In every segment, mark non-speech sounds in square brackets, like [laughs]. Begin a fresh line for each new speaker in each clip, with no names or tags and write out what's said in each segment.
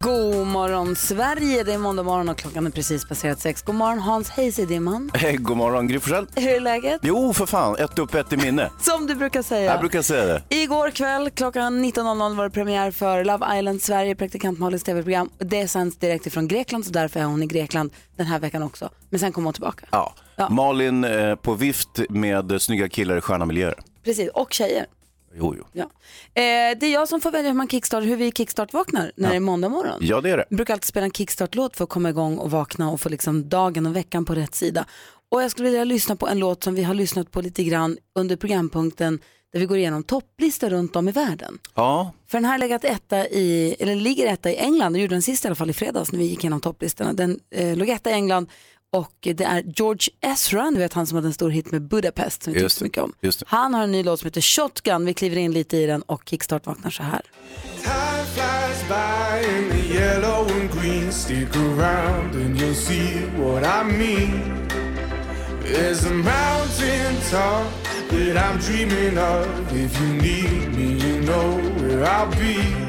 God morgon Sverige, det är måndag morgon och klockan är precis passerat sex. God morgon Hans, hej Sidimman.
Hej, [laughs] god morgon Gry Forssell.
Hur är läget?
Jo, för fan, ett upp, ett i minne.
Som du brukar säga.
Jag brukar säga det.
Igår kväll klockan 19.00 var det premiär för Love Island Sverige, praktikant Malins tv-program. Och Det sänds direkt ifrån Grekland så därför är hon i Grekland den här veckan också. Men sen kommer hon tillbaka.
Ja. Malin eh, på vift med eh, snygga killar i sköna miljöer.
Precis, och tjejer.
Jo, jo.
Ja. Eh, det är jag som får välja hur, man kickstart, hur vi kickstart-vaknar när det är måndag morgon.
Ja, det är det.
Jag brukar alltid spela en kickstart-låt för att komma igång och vakna och få liksom dagen och veckan på rätt sida. Och jag skulle vilja lyssna på en låt som vi har lyssnat på lite grann under programpunkten där vi går igenom topplistor runt om i världen.
Ja,
För den här legat etta i, eller ligger etta i England, och gjorde den sist i alla fall i fredags när vi gick igenom topplistorna. Den eh, låg etta i England och det är George Ezra, du vet han som hade en stor hit med Budapest som vi tyckte
Just
så
det,
mycket om.
just det.
Han har en ny låt som heter Shotgun, vi kliver in lite i den och kickstart vaknar så här.
Time flies by in the yellow and green. Stick around and you'll see what I mean. There's a mountain top that I'm dreaming of. If you need me, you know where I'll be.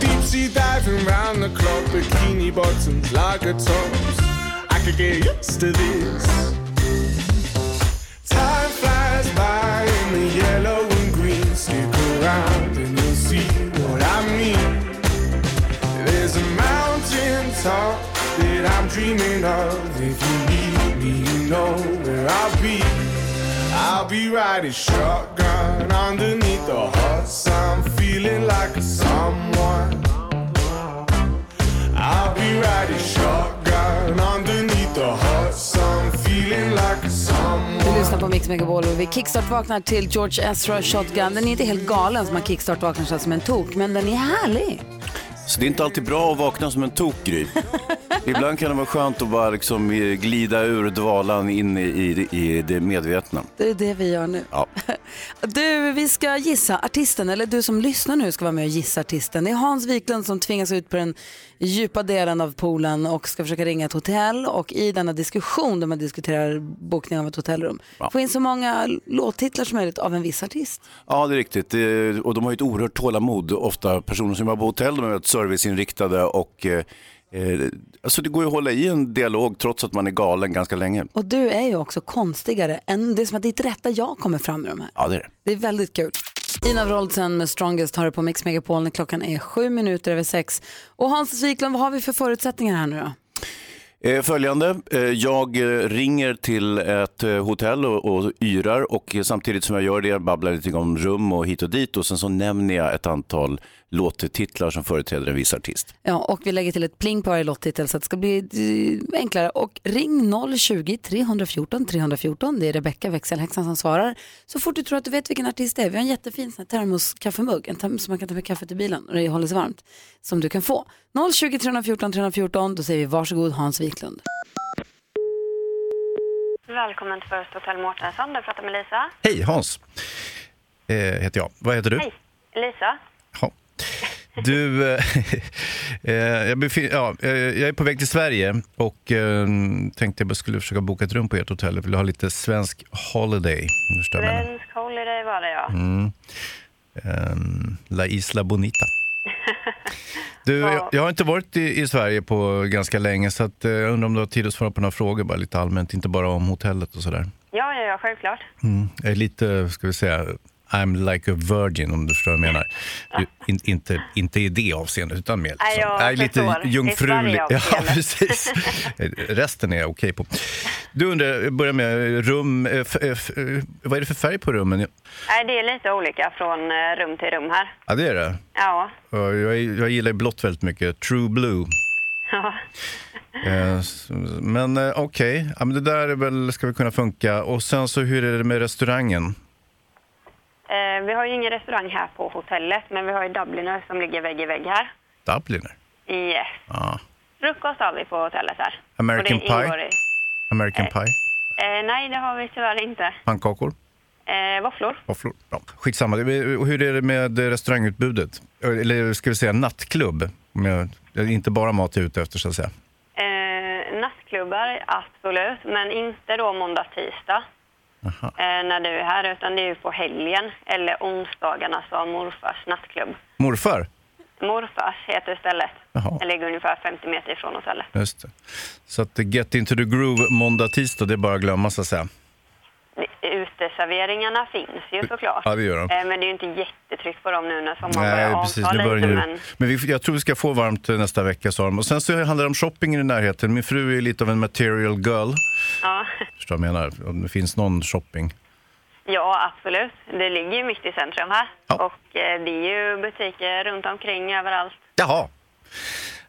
Deep sea diving round the clock, bikini bottoms, lager tops. I could get used to this. Time flies by in the yellow and green. Stick around and you'll see what I mean. There's a mountain top that I'm dreaming of. If you need me, you know where I'll be. I'll be riding shotgun underneath the hot sun, feeling like a someone. I'll be riding shotgun underneath the hot sun, feeling like a someone.
Du lyssnar på Mix Megapol och vi kickstart-vaknar till George Ezra Shotgun. Den är inte helt galen som man kickstart-vaknar så här som en tok, men den är härlig.
så det är inte alltid bra att vakna som en tokgry. Ibland kan det vara skönt att bara liksom eh, glida ur dvalan in i, i, i det medvetna.
Det är det vi gör nu.
Ja.
[laughs] Du, vi ska gissa artisten, eller du som lyssnar nu ska vara med och gissa artisten. Det är Hans Wiklund som tvingas ut på den djupa delen av poolen och ska försöka ringa ett hotell och i denna diskussion där man diskuterar bokning av ett hotellrum få in så många låttitlar som möjligt av en viss artist.
Ja, det är riktigt. Eh, Och de har ju ett oerhört tålamod, ofta personer som jobbar på hotell, de är väldigt serviceinriktade och eh, eh, alltså det går ju att hålla i en dialog trots att man är galen ganska länge.
Och du är ju också konstigare än det är som att ditt rätta jag kommer fram i de här.
Ja, det är det.
Det är väldigt kul. Ina Wroldsen med Strongest har du på Mix Megapol när klockan är sju minuter över sex. Och Hans Wiklund, vad har vi för förutsättningar här nu då?
Eh, Följande, eh, jag eh, ringer till ett eh, hotell och, och yrar och eh, samtidigt som jag gör det jag babblar lite om rum och hit och dit och sen så nämner jag ett antal låttitlar som företräder en viss artist.
Ja, och vi lägger till ett pling på varje lottitel så att det ska bli eh, enklare. Och ring 020-314 314. Det är Rebecka växelhäxan som svarar. Så fort du tror att du vet vilken artist det är. Vi har en jättefin sån här termoskaffemugg en term som man kan ta med kaffet i bilen och det håller sig varmt. Som du kan få. 020 314 314. Då säger vi varsågod Hans Wiklund.
Välkommen till Först Hotell Mårtensson. Du pratar med Lisa.
Hej, Hans eh, heter jag. Vad heter du?
Hej. Lisa?
Ja. Du, eh, [laughs] eh, jag, befin- ja, eh, jag är på väg till Sverige och eh, tänkte jag bara skulle försöka boka ett rum på ert hotell. Jag vill ha lite svensk holiday. Nu förstår jag vad jag menar.
Svensk Holiday var det, ja.
Mm. Ehm, La Isla Bonita.
[laughs]
Du, jag, jag har inte varit i, i Sverige på ganska länge så att, eh, jag undrar om du har tid att svara på några frågor bara lite allmänt, inte bara om hotellet och sådär.
Ja, ja, ja, självklart.
Mm. Jag är lite, ska vi säga, I'm like a virgin om du förstår vad jag menar. Ju- In, inte, inte i det avseendet utan mer
Nej, jag
Nej, lite
förstår. I
jungfrulig.
Sverige
[laughs] Ja,
avseende.
[laughs]
precis. Resten är jag okej på. Du undrar, börja med rum. eh, f- eh, f- eh, Vad är det för färg på rummen?
Nej, det är lite olika från eh, rum till rum här.
Ja, det är det.
Ja, [laughs]
Ja, Jag, jag gillar ju blått väldigt mycket. True blue.
ja.
Eh, s- Men eh, okej, ja, men det där är väl, ska väl kunna funka. Och sen så hur är det med restaurangen?
Eh, vi har ju ingen restaurang här på hotellet, men vi har ju Dubliner som ligger vägg i vägg här.
Dubliner?
Yes.
Ja.
Frukost har vi på hotellet här.
American
Och det ingår
pie?
I...
American pie?
Eh, nej, det har vi tyvärr inte.
Pannkakor?
Eh, våfflor?
Våfflor? Ja, skitsamma. Det- Och hur är det med restaurangutbudet? Eh, Eller ska vi säga nattklubb? Om jag, det är inte bara mat jag är ute efter så att säga.
Eh, nattklubbar, absolut. Men inte då måndag, tisdag
Aha.
eh, när du är här, utan det är ju på helgen eller onsdagarna som morfars nattklubb.
Morfar?
Morfars heter stället.
Jaha.
Det ligger ungefär 50 meter ifrån hotellet.
Just det. Så att eh, get into the groove måndag, tisdag, det är bara att glömma så att säga.
Uteserveringarna finns ju såklart.
Ja, det gör de.
Eh, Men det är ju inte jättetryck på dem nu när sommaren
Nej,
börjar
precis.
avta
Nu börjar
lite.
det.
Men
Men vi, jag tror vi ska få varmt eh, nästa vecka, sa de. Och sen så handlar det om shopping i närheten. Min fru är lite av en material girl.
ja,
Förstår vad jag menar? Om det finns någon shopping.
ja, absolut. Det ligger ju mitt i centrum här.
Ja.
Och eh, det är ju butiker runt omkring överallt.
Jaha.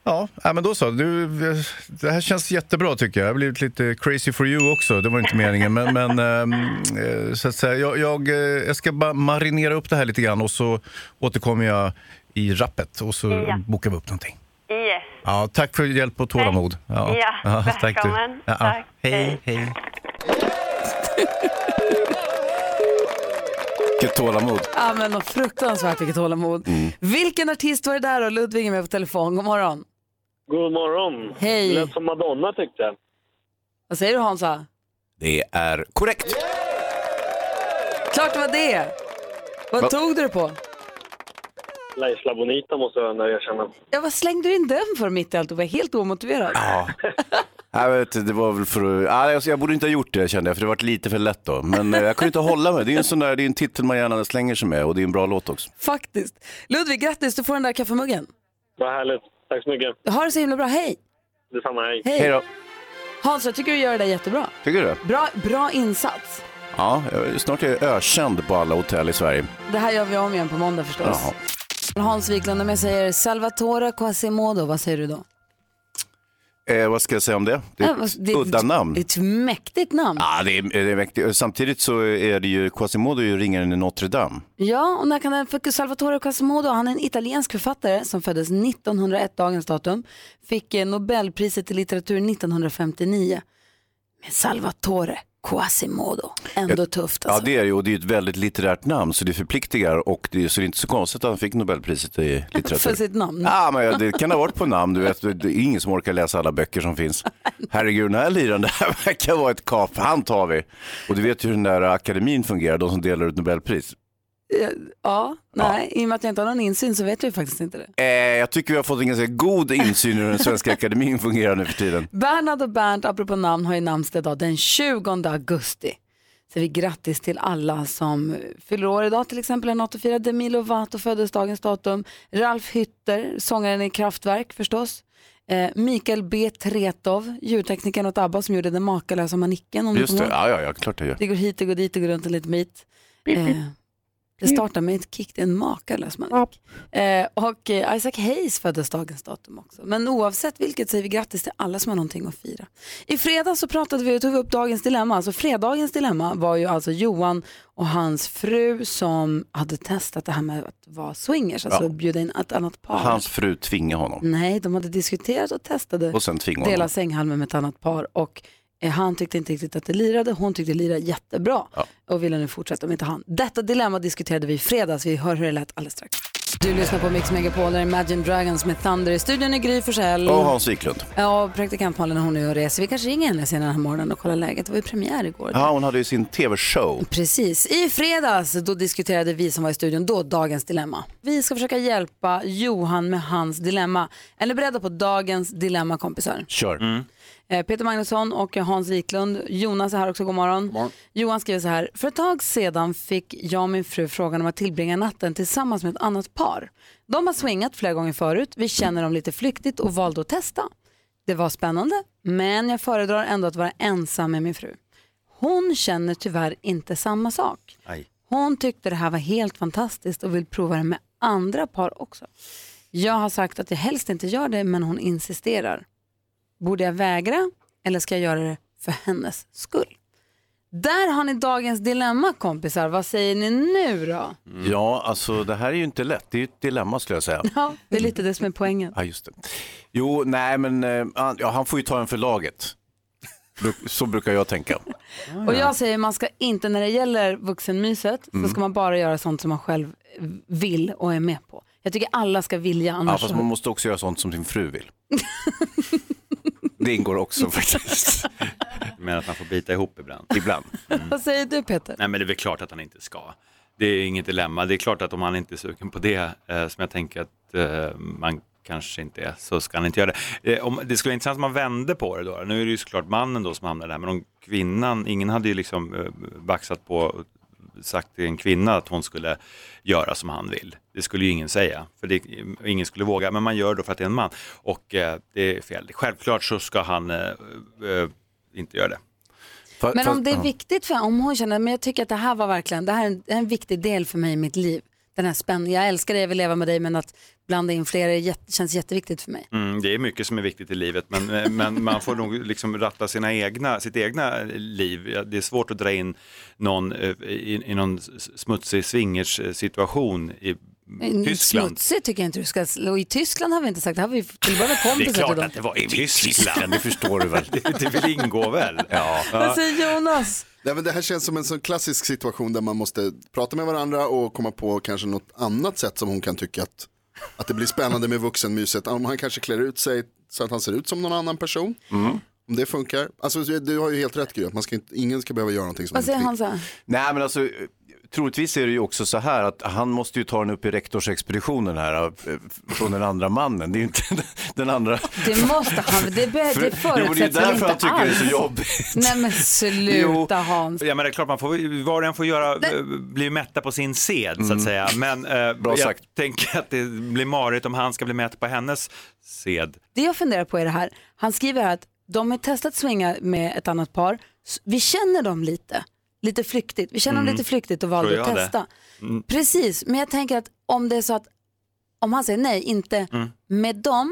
Ja, ja, men då så. Du, eh, det här känns jättebra tycker jag. Jag har blivit lite crazy for you också. Det var inte meningen. Men, men ehm, eh, så att säga, jag, jag, eh, jag ska bara marinera upp det här lite grann och så återkommer jag i rappet och så
Ja.
bokar vi upp någonting.
Yes.
Ja, tack för hjälp och tålamod.
Ja, välkommen.
Ja, ja.
Tack.
Hej, hej.
Vilket tålamod.
Ja, men och fruktansvärt vilket tålamod.
Mm.
Vilken artist var det där då? Ludvig är med på telefon. God morgon.
God morgon.
Hej.
Lät som Madonna tyckte jag.
Vad säger du Hansa?
Det är korrekt.
Klart det var det. Vad
Va-
tog du det på?
Laisla Bonita måste jag ändå erkänna.
Ja, vad slängde du in den för mitt i allt? Du var helt omotiverad.
Ja. Jag, vet, inte, det var väl för, ja, alltså, jag borde inte ha gjort det kände jag, för det var lite för lätt då. Men eh, jag kunde inte hålla mig. Det är en sån där, det är en titel man gärna slänger sig med och det är en bra låt också.
Faktiskt. Ludvig, grattis. Du får den där kaffemuggen.
Vad härligt. Tack så mycket.
Ha det så himla bra. Hej.
Detsamma. Hej.
Hej.
Hej då.
Hans, jag tycker du gör det där jättebra.
Tycker du det?
Bra, bra insats.
Ja, jag- snart är jag ökänd på alla hotell i Sverige.
Det här gör vi om igen på måndag förstås.
Jaha.
Hans Wiklund, om jag säger Salvatore Quasimodo, vad säger du då?
Eh, vad ska jag säga om det? Det
Ja,
är
vad-
ett udda namn. Ah.
Det är ett mäktigt namn.
Ja, det är, det är mäktigt. Samtidigt så är det ju Quasimodo är ju ringaren i Notre Dame.
Ja, och när kan den, för Salvatore Quasimodo, han är en italiensk författare som föddes 1901, dagens datum. Fick eh, Nobelpriset i litteratur 1959. Men Salvatore Quasimodo, ändå tufft
Ja,
alltså.
det är ju och det är ju ett väldigt litterärt namn så det förpliktigar och det, är- så det är inte så konstigt att han fick Nobelpriset i
För
litteratur.
sitt namn.
Ja, men jag- det kan ha varit på namn, du vet. Det är ingen som orkar läsa alla böcker
[laughs]
som finns. Herregud, den här liraren, det här verkar vara ett kap. Han tar vi. Och du vet ju hur den där akademin fungerar, de som delar ut Nobelpris.
Eh, Ja, nej, i och med att jag inte har någon insyn så vet jag ju faktiskt inte det.
Eh, jag tycker vi har fått en ganska god insyn i hur den svenska akademin fungerar nu för tiden.
Bernhard och Bernt, apropå namn, har ju namnsdag idag den 20 augusti. Så vi grattis till alla som fyller år idag, till exempel en 84, Demi Lovato föddes dagens datum, Ralf Hytter, sångaren i Kraftwerk förstås, eh, Mikael B. Tretow, ljudteknikern åt ABBA som gjorde den makalösa manicken. Om ni
Just
kommer
det,
ihåg.
ja, ja, ja klart jag gör.
det går hit, det går dit, det går runt och lite mit. Eh, det startar med ett kick, det är en makalös manick. Eh, och eh, Isaac Hayes föddes dagens datum också. Men oavsett vilket säger vi grattis till alla som har någonting att fira. I fredags så pratade vi, tog vi upp dagens dilemma. Alltså fredagens dilemma var ju alltså Johan och hans fru som hade testat det här med att vara swingers, alltså
Ja.
bjuda in ett annat par.
Hans fru tvingade honom
Nej, de hade diskuterat och testade
och sen tvingade honom.
dela sänghalmen med ett annat par och eh, han tyckte inte riktigt att det lirade, hon tyckte det lirade jättebra
Ja.
och ville nu fortsätta om inte han. Detta dilemma diskuterade vi i fredags, vi hör hur det lät alldeles strax. Du lyssnar på Mix Megapol, där är Imagine Dragons med Thunder i studion i Gry Forssell.
Och Hans Wiklund.
Ja, och praktikant Malin hon är och reser. Vi kanske ringer henne senare den här morgonen och kollar läget. Det var ju premiär igår.
Ja, hon hade ju sin tv-show.
Precis. I fredags då diskuterade vi som var i studion då dagens dilemma. Vi ska försöka
Mm.
hjälpa Johan med hans dilemma. Är ni beredda på dagens dilemma kompisar?
Kör.
Eh, Peter Magnusson och Hans Wiklund. Jonas är här också, god morgon. Johan skriver så här. För ett tag sedan fick jag och min fru frågan om att tillbringa natten tillsammans med ett annat par. De har swingat flera gånger förut, vi känner dem lite flyktigt och valde att testa. Det var spännande, men jag föredrar ändå att vara ensam med min fru. Hon känner tyvärr inte samma sak.
Aj.
Hon tyckte det här var helt fantastiskt och vill prova det med andra par också. Jag har sagt att jag helst inte gör det, men hon insisterar. Borde jag vägra eller ska jag göra det för hennes skull? Där har ni dagens dilemma kompisar. Vad säger ni nu
Mm.
då?
Mm.
Ja, alltså det här är ju inte lätt. Det är ju ett dilemma skulle jag
[laughs]
säga.
Ja, det är lite det som är poängen.
Ja, just det. Jo, nej, men eh, han, ja, han får ju ta en för laget. Bru- Så brukar jag
[laughs]
tänka.
Och jag säger man ska inte, när det gäller vuxenmyset, så
Mm.
ska man bara göra sånt som man själv vill och är med på. Jag tycker alla ska vilja
Ja,
annars. [laughs]
fast man måste också göra sånt som sin fru vill. Det ingår också faktiskt,
Men att man får bita ihop ibland.
ibland.
Vad säger du Peter?
Nej men det är väl klart att han inte ska. Det är inget dilemma. Det är klart att om han inte är sugen på det, eh, som jag tänker att eh, man kanske inte är, så ska han inte göra det. Eh, om, det skulle vara intressant om man vände på det då. Nu är det ju såklart mannen då som hamnar där, men om kvinnan, ingen hade ju liksom eh, baxat på sagt till en kvinna att hon skulle göra som han vill. Det skulle ju ingen säga, för det, ingen skulle våga, men man gör då för att det är en man. Och eh, det är fel. Självklart så ska han eh, eh, inte göra det.
Fa-
Men
fast-
om det är
ja.
viktigt för om hon känner, men jag tycker att det här var verkligen, det här är en, en viktig del för mig i mitt liv. Den här spänningen, jag älskar dig, jag vill leva med dig, men att blanda in fler är jätte, känns jätteviktigt för mig.
Mm, det är mycket som är viktigt i livet, men, eh, men man får nog liksom ratta sina egna, sitt egna liv. Ja, Det är svårt att dra in någon eh, i, i någon s- smutsig swingers-situation i
Mm,
Tyskland.
Smutsigt tycker jag inte du ska, och i Tyskland har vi inte sagt, det här har vi tillbaka
Det är
kompisar till
klart
dem.
att det var i Tyskland,
[laughs]
det förstår du väl? [laughs] Det, det vill ingå väl?
[laughs]
Ja.
Vad säger Jonas?
Nej, men det här känns som en sån klassisk situation där man måste prata med varandra och komma på kanske något annat sätt som hon kan tycka att, att det blir spännande med vuxenmyset. Om han kanske klär ut sig så att han ser ut som någon annan person. Om det funkar. Alltså, du har ju helt rätt Gry, att man ska inte, ingen ska behöva göra någonting som
Vad säger
inte
han så här?
Nej, men alltså, eh, troligtvis är det ju också så här att han måste ju ta den upp i rektorsexpeditionen här eh, från den andra mannen. Det är ju inte den andra.
Det måste han, det, be, det
jo, men det är
förutsätts väl
därför
inte
han tycker
alls?
det är så jobbigt.
Nej
[laughs]
men sluta Hans.
Ja, men det är klart, man får, var och en får göra, eh, bli mätta på sin sed så att säga. Men eh,
Mm. Bra
jag
sagt.
tänker att det blir marigt om han ska bli mätt på hennes sed.
Det jag funderar på är det här, han skriver här att de har testat swinga med ett annat par, S- vi känner dem lite, lite flyktigt, vi känner dem lite flyktigt och
Mm. Tror
valde att
jag det. Mm.
testa. Precis, men jag tänker att om det är så att, om han säger nej, inte
Mm.
med dem,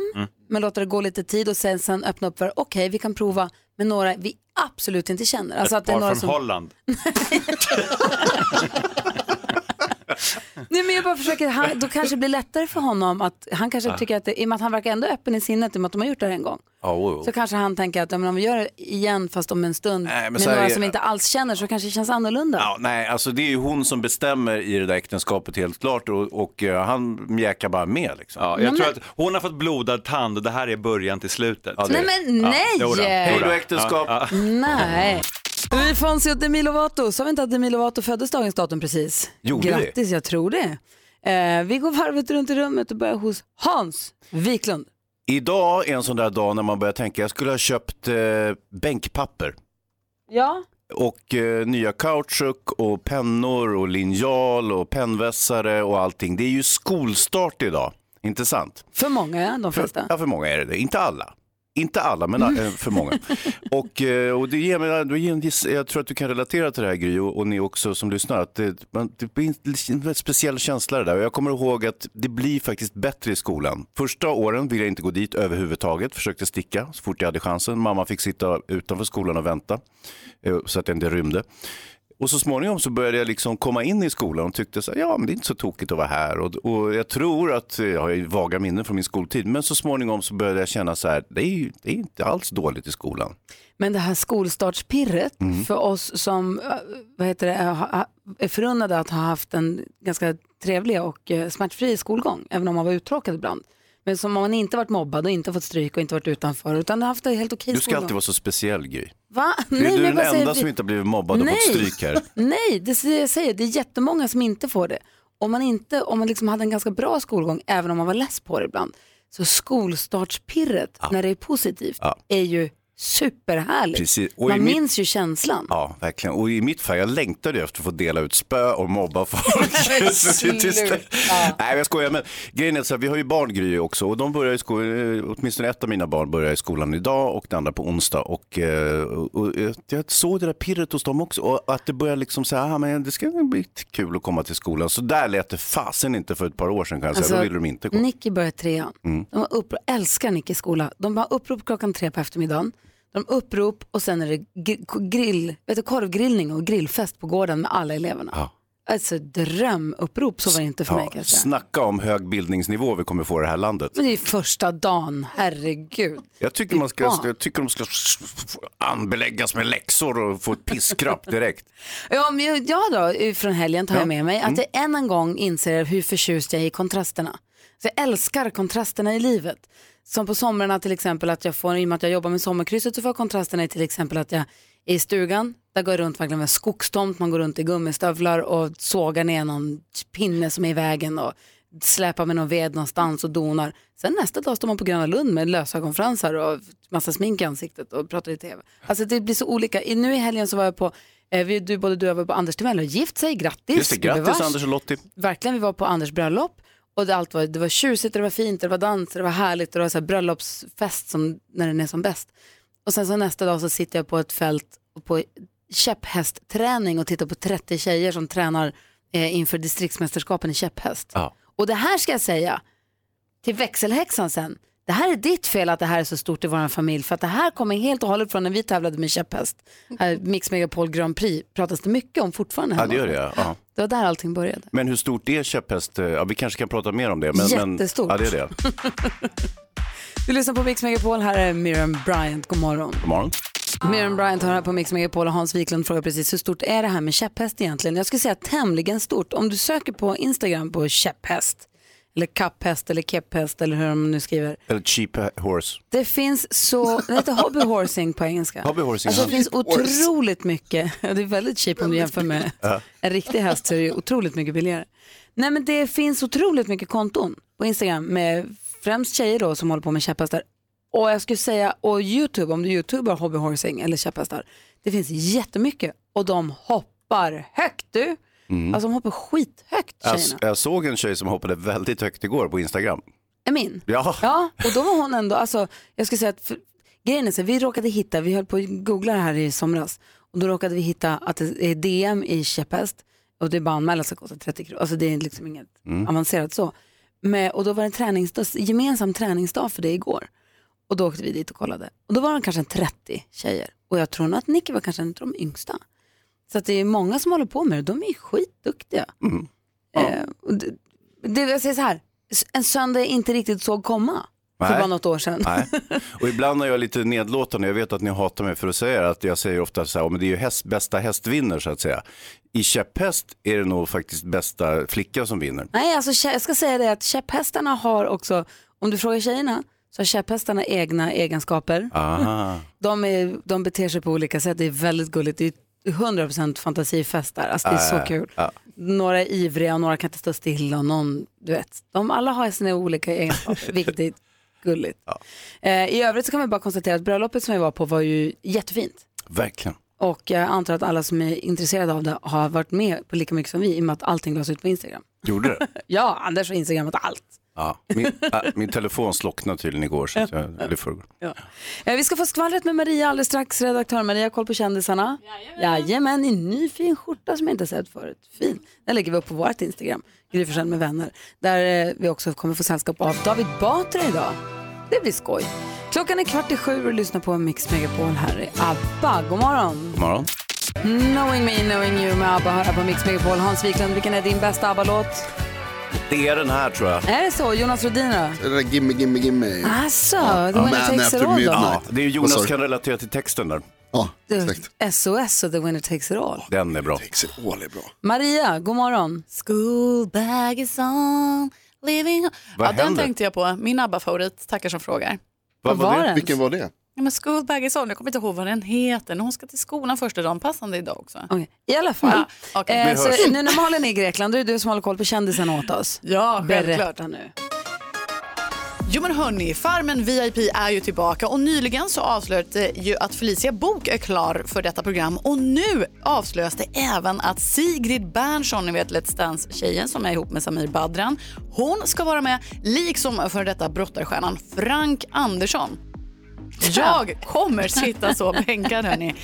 men låter det gå lite tid och sen, sen öppna upp för, okej vi kan prova med några vi absolut inte känner. Alltså att
Ett
det är
par
några
från
som...
Holland.
Nej men jag bara försöker, han, då kanske det blir lättare för honom att, han kanske tycker att, det, i och med att han verkar ändå öppen i sinnet i och med att de har gjort det här en gång.
Ja, jo,
oh,
jo.
Så kanske han tänker att ja, men om vi gör det igen fast om en stund
Nej, men
med
så här
några
är-
som inte alls känner så kanske det känns annorlunda.
Ja, nej, alltså det är ju hon som bestämmer i det där äktenskapet helt klart och, och eh, han mjäkar bara med liksom.
Ja, jag tror att hon har fått blodad tand och det här är början till slutet.
Nej men nej!
Ja, jodå,
Hej då
jodå.
äktenskap!
Nej. Vi Fonzie och Demi Lovato, sa vi inte att Demi Lovato föddes dagens datum precis?
Gjorde vi?
Grattis, jag tror det. Eh, vi går varvet runt i rummet och börjar hos Hans Wiklund.
Idag är en sån där dag när man börjar tänka, jag skulle ha köpt eh, bänkpapper
Ja,
och eh, nya kautschuk och pennor och linjal och pennvässare och allting. Det är ju skolstart idag, inte sant?
för många, ja, de
För,
flesta.
ja, för många är det det. Inte alla. Inte alla, men eh, för många.
[laughs]
och, eh, och det ger mig, det ger en viss- jag tror att du kan relatera till det här Gry och, och ni också som lyssnar. Att det, man, det blir en väldigt speciell känsla det där. Och jag kommer ihåg att det blir faktiskt bättre i skolan. Första åren ville jag inte gå dit överhuvudtaget. Försökte sticka så fort jag hade chansen. Mamma fick sitta utanför skolan och vänta eh, så att jag inte rymde. Och så småningom så började jag liksom komma in i skolan och tyckte så här, ja men det är inte så tokigt att vara här. Och, och jag tror att, eh, jag har ju vaga minnen från min skoltid, men så småningom så började jag känna så här, det är, ju- det är inte alls dåligt i skolan.
Men det här skolstartspirret
Mm.
för oss som eh, vad heter det, eh, ha- är förunnade att ha haft en ganska trevlig och eh, smärtfri skolgång, även om man var uttråkad ibland. Men som om man inte varit mobbad och inte fått stryk och inte varit utanför utan haft en helt okej
Du ska
skolgång.
alltid vara så speciell Gry.
Va?
Du är
Nej,
du
men
den
vad säger
enda
vi?
som inte har blivit mobbad och
Nej.
fått stryk här.
[laughs] Nej, det är det jag säger. Det är jättemånga som inte får det. Om man, inte, om man liksom hade en ganska bra skolgång, även om man var less på det ibland, så skolstartspirret, när det är positivt, är ju superhärligt.
Precis. Och i
Man
mitt-
minns ju känslan.
Ja, verkligen. Och i mitt fall, jag längtade ju efter att få dela ut spö och mobba folk. Så det är tyst.
Sluta.
Nej, jag skojar. Men grejen är så här, vi har ju barn Gry också och de börjar i skolan, åtminstone ett av mina barn börjar i skolan idag och det andra på onsdag. Och, eh, och, och eh, jag såg det där pirret hos dem också och att det börjar liksom så här, "Ah, men det ska bli kul att komma till skolan. Så där lät det fasen inte för ett par år sedan kan jag säga, alltså, då ville de inte gå.
Alltså, Nicky börjar trean.
Mm.
De har upprop, jag älskar Nickis skola. De har upprop klockan tre på eftermiddagen. De har upprop och sen är det gr- grill, vet du, korvgrillning och grillfest på gården med alla eleverna.
Ja.
Alltså drömupprop, så var det inte för mig
Ja,
kanske.
snacka om hög bildningsnivå vi kommer få i det här landet.
Men det är ju första dagen, herregud.
Jag tycker, man ska,
Barn.
jag tycker de ska anbeläggas med läxor och få
[laughs]
ett piskrapp direkt.
Ja, men jag, jag då, eh, från helgen tar
Ja.
jag med mig att
Mm.
jag än en gång inser hur förtjust jag är i kontrasterna. Så jag älskar kontrasterna i livet. Som på somrarna till exempel att jag får, i och med att jag jobbar med sommarkrysset så får jag kontrasterna i till exempel att jag är i stugan, där går jag runt verkligen med en skogstomt, man går runt i gummistövlar och sågar ner någon pinne som är i vägen och släpar med någon ved någonstans och donar. Sen nästa dag står man på Gröna Lund med lösögonfransar och massa smink i ansiktet och pratar i tv. Alltså det blir så olika. I- Nu i helgen så var jag på, eh, vi, du, både du och jag var på Anders Timell och gift sig, grattis.
Just det, grattis
gubevars.
Anders och Lottie.
Verkligen, vi var på Anders bröllop och det, allt var, det var tjusigt, och det var fint, och det var dans, och det var härligt och det var så här bröllopsfest som, när den är som bäst. Och sen så nästa dag så sitter jag på ett fält och på käpphästträning och tittar på 30 tjejer som tränar eh, inför distriktsmästerskapen i käpphäst.
Ja.
Och det här ska jag säga till växelhäxan sen. Det här är ditt fel att det här är så stort i vår familj för att det här kommer helt och hållet från när vi tävlade med käpphäst. Eh, Mix Megapol Grand Prix pratas det mycket om fortfarande.
Ja,
hemma.
det gör det. ja. Ja.
det var där allting började.
Men hur stort är käpphäst? eh, Ja, vi kanske kan prata mer om det. Men,
Jättestort.
Men, ja, det är det.
Du lyssnar på Mix Megapol, här är Miriam Bryant, god morgon.
God morgon.
Miriam Bryant har här på Mix Megapol och Hans Wiklund frågar precis hur stort är det här med käpphäst egentligen? Jag skulle säga tämligen stort. Om du söker på Instagram på käpphäst, eller kapphäst eller kepphäst eller hur de nu skriver.
Eller cheap horse.
Det finns så, det heter hobbyhorsing på engelska.
Hobbyhorsing,
alltså,
ja.
det finns
Horse.
otroligt mycket, det är väldigt cheap om du jämför med
Ja.
en riktig häst så är det ju otroligt mycket billigare. Nej men det finns otroligt mycket konton på Instagram med främst tjejer då som håller på med käpphästar. Och jag skulle säga, och YouTube, om du youtubar hobbyhorsing eller käpphästar, det finns jättemycket och de hoppar högt du.
Mm.
Alltså de hoppar skithögt
Jag,
tjejerna.
jag såg en tjej som hoppade väldigt högt igår på Instagram.
Emin.
Ja,
Ja, och då var hon ändå, alltså, jag skulle säga att för, grejen är så här, vi råkade hitta, vi höll på att googla det här i somras och då råkade vi hitta att det är DM i käpphäst och det är bara att anmäla sig kostar 30 kronor, alltså det är liksom inget
Mm.
avancerat så. Men, och då var det en träningsdag, gemensam träningsdag för det igår och då åkte vi dit och kollade och då var de kanske en 30 tjejer och jag tror nog att Nicky var kanske en av de yngsta. Så att det är många som håller på med det, de är ju skitduktiga.
Mm.
Eh, och det, det, jag säger så här, s- en söndag jag inte riktigt såg komma för
Nej.
bara något år sedan.
Nej. Och ibland är jag lite nedlåtande, jag vet att ni hatar mig för att säga det, att jag säger ofta så här, "Ja, men det är ju häst, bästa häst vinner så att säga. I käpphäst är det nog faktiskt bästa flicka som vinner.
[laughs] Nej, alltså kä- jag ska säga det att käpphästarna har också, om du frågar tjejerna, så har käpphästarna egna egenskaper.
Aha.
[laughs] De, är, de beter sig på olika sätt, det är väldigt gulligt. Det är 100% fantasifästar, alltså det är så
Eh,
Äh,
kul.
ja.
Några är ivriga och några kan inte stå stilla och någon, du vet. De alla har sina olika egenskaper, vilket är gulligt. Eh, I övrigt så kan vi bara konstatera att bröllopet som jag var på var ju jättefint.
Verkligen.
Och jag antar att alla som är intresserade av det har varit med på lika mycket som vi i och med att allting lades ut på Instagram.
Gjorde det?
Ja, Anders har Instagramat allt.
Ja. Min, äh, min telefon slocknade tydligen igår, så att jag, eller i förrgår.
Eh, Vi ska få skvallret med Maria alldeles strax. Redaktör Maria har koll på kändisarna. Jajamän. i ny fin skjorta som jag inte sett förut. Fin. Den lägger vi upp på vårt Instagram, Gry Forssell med vänner. Där eh, vi också kommer få sällskap av David Batra idag. Det blir skoj. Klockan är kvart i sju och lyssna på Mix Megapol. Här är ABBA. God morgon.
God morgon.
Knowing me, knowing you med ABBA här på Mix Megapol. Hans Wiklund, vilken är din bästa ABBA-låt?
Det är den här tror jag.
Är det så? Jonas Rhodin då?
Det där gimme, gimme, gimme.
Alltså, det var en texter åt
Ja,
då.
det är ju
Vad
Jonas
sa du?
kan relatera till texten där.
Ja,
SOS och The Winner Takes It All.
Den är bra.
Takes it all är bra.
Maria, god morgon.
Schoolbag is on, living...
Vad
ja, den
händer?
tänkte jag på. Min ABBA-favorit, tackar som frågar.
Vilken var det?
Ja, men Schoolbag is on, jag kommer inte ihåg vad den heter. Men Hon ska till skolan första dagen, passande idag också.
I alla fall.
Ja, okej.
Eh, så nu när Malin är i Grekland, då är det du som håller koll på kändisarna åt oss.
Ja,
Berätta
självklart.
nu.
Jo men hörni, Farmen VIP är ju tillbaka och nyligen så avslöjades det ju att Felicia Bok är klar för detta program och nu avslöjas det även att Sigrid Bernson, ni vet Let's Dance-tjejen som är ihop med Samir Badran, hon ska vara med liksom för detta brottarstjärnan Frank Andersson. Jag kommer sitta så bänkad hörni.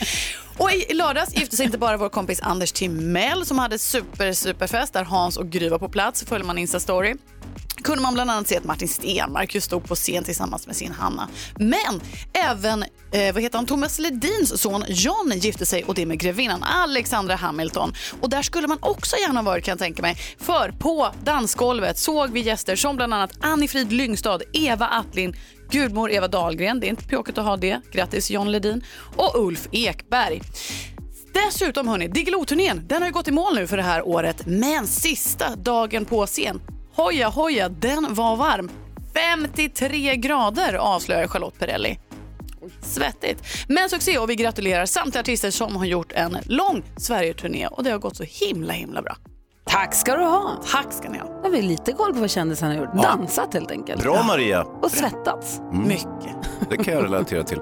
Och i lördags gifte sig inte bara vår kompis Anders Timell som hade super superfest där Hans och Gry var på plats, följer man Insta-story kunde man bland annat se att Martin Stenmark just stod på scen tillsammans med sin Hanna. Men även eh, vad heter han, Thomas Ledins son John gifte sig och det med grevinnan Alexandra Hamilton. Och där skulle man också gärna ha varit kan jag tänka mig. För på dansgolvet såg vi gäster som bland annat Annie-Frid Lyngstad, Eva Attlin, gudmor Eva Dahlgren, det är inte pjåkigt att ha det, grattis John Ledin, och Ulf Ekberg. Dessutom hörni, Diggiloo-turnén, den har ju gått i mål nu för det här året, men sista dagen på scen, hoja hoja, den var varm. 53 grader avslöjar Charlotte Perrelli. Svettigt. Men succé och vi gratulerar samtliga artister som har gjort en lång Sverigeturné och det har gått så himla himla bra.
Tack ska du ha.
Tack ska ni ha.
Då har vi lite koll på vad kändisarna har gjort. Dansat helt enkelt.
Bra Maria!
Och svettats.
Mm. Det kan jag relatera till.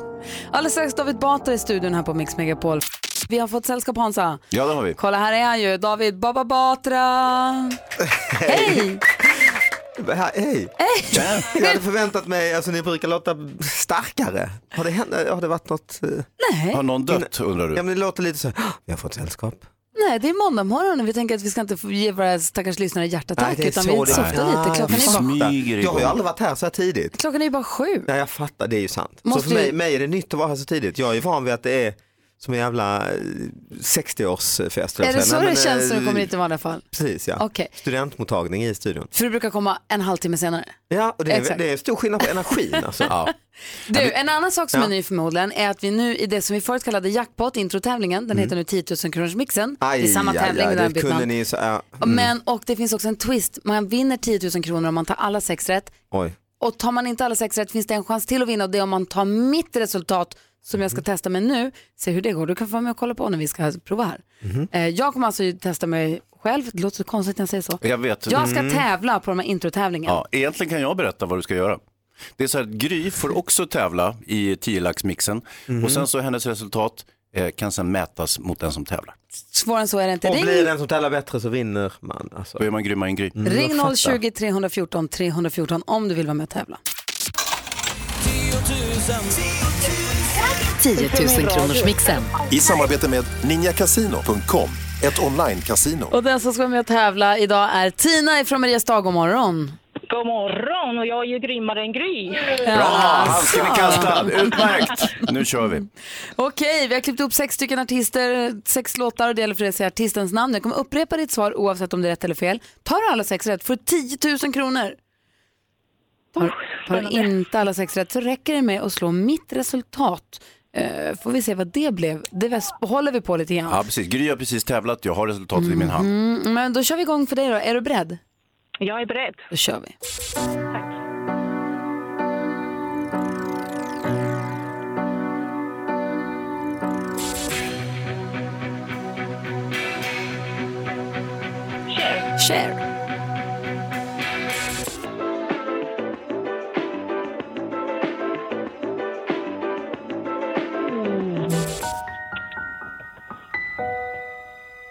Alldeles strax David Batra i studion här på Mix Megapol. Vi har fått sällskap Hansa.
Ja, det har vi.
Kolla här är han ju, David Baba Batra. Hej!
Ha- Hej!
Hej!
Jag hade förväntat mig, alltså ni brukar låta starkare. Har det, hänt, har det varit något? eh?
Nej.
Har någon dött undrar du?
Ja men det låter lite så, här, "Åh, vi har fått sällskap.
Nej, det är måndag morgon och vi tänker att vi ska inte få ge våra stackars lyssnare hjärtattack
Nej, det är
utan
så
vi
det är.
softar lite. Klockan
Vi
är, bara,
smyger igång. Jag har ju aldrig varit här så här tidigt.
klockan är ju bara sju.
Nej jag fattar, det är ju sant.
Måste
så för mig,
ju-
mig är det nytt att vara här så tidigt. Jag är ju van vid att det är som en jävla eh, 60-årsfest.
Är det så det känns när
när
du kommer hit i vanliga fall?
eh, Precis ja.
Okej.
Studentmottagning i studion.
För du brukar komma en halvtimme senare.
Ja, och det är,
Exakt.
det är stor skillnad på energin alltså. ja.
Du, en annan sak som
Ja.
är ny förmodligen är att vi nu i det som vi förut kallade jackpot, introtävlingen,
Mm.
den heter nu 10 000 kronors mixen. det är samma tävling, den har
det
bytt namn.
kunde ni så, ja. mm.
Men, och det finns också en twist, man vinner 10 000 kronor om man tar alla sex rätt.
Oj.
Och tar man inte alla sex rätt finns det en chans till att vinna och det är om man tar mitt resultat som jag ska
Mm.
testa med nu. Se hur det går, du kan få vara med och kolla på när vi ska prova här.
Mm-hmm.
Eh, Jag kommer alltså ju testa mig själv, det låter så konstigt när jag säger så.
Jag vet.
Jag ska
Mm.
tävla på de här introtävlingarna.
Ja, egentligen kan jag berätta vad du ska göra. Det är så här, att Gry får också tävla i 10-laxmixen
Mhm.
och sen så hennes resultat eh, kan sen mätas mot den som tävlar.
Svårare än så är det inte.
Och
Ring-
blir den som tävlar bättre så vinner man. Alltså. Då
är man grymmare än Gry.
Mm. Ring 020 314 314 om du vill vara med och tävla.
10
000 kronors mixen.
I samarbete med ninjakasino.com, ett online-casino.
Och den som ska vara med och tävla idag är Tina från Mariestad. God morgon.
God morgon och jag är ju grymmare än Gry.
Bra, handsken
[laughs]
är kastad, utmärkt. Nu kör vi.
Okej, vi har klippt upp sex stycken artister, sex låtar och det gäller för dig att säga artistens namn. Jag kommer upprepa ditt svar oavsett om det är rätt eller fel. Tar du alla sex rätt får du 10 000 kronor. Tar, tar du inte alla sex rätt så räcker det med att slå mitt resultat. Eh, får vi se vad det blev. Det väs- håller vi på lite grann.
Ja, precis. Gry har precis tävlat, jag har resultatet i min hand.
Mm, men då kör vi igång för dig då. Är du beredd?
Jag är beredd.
Då kör vi.
Cher.
Cher.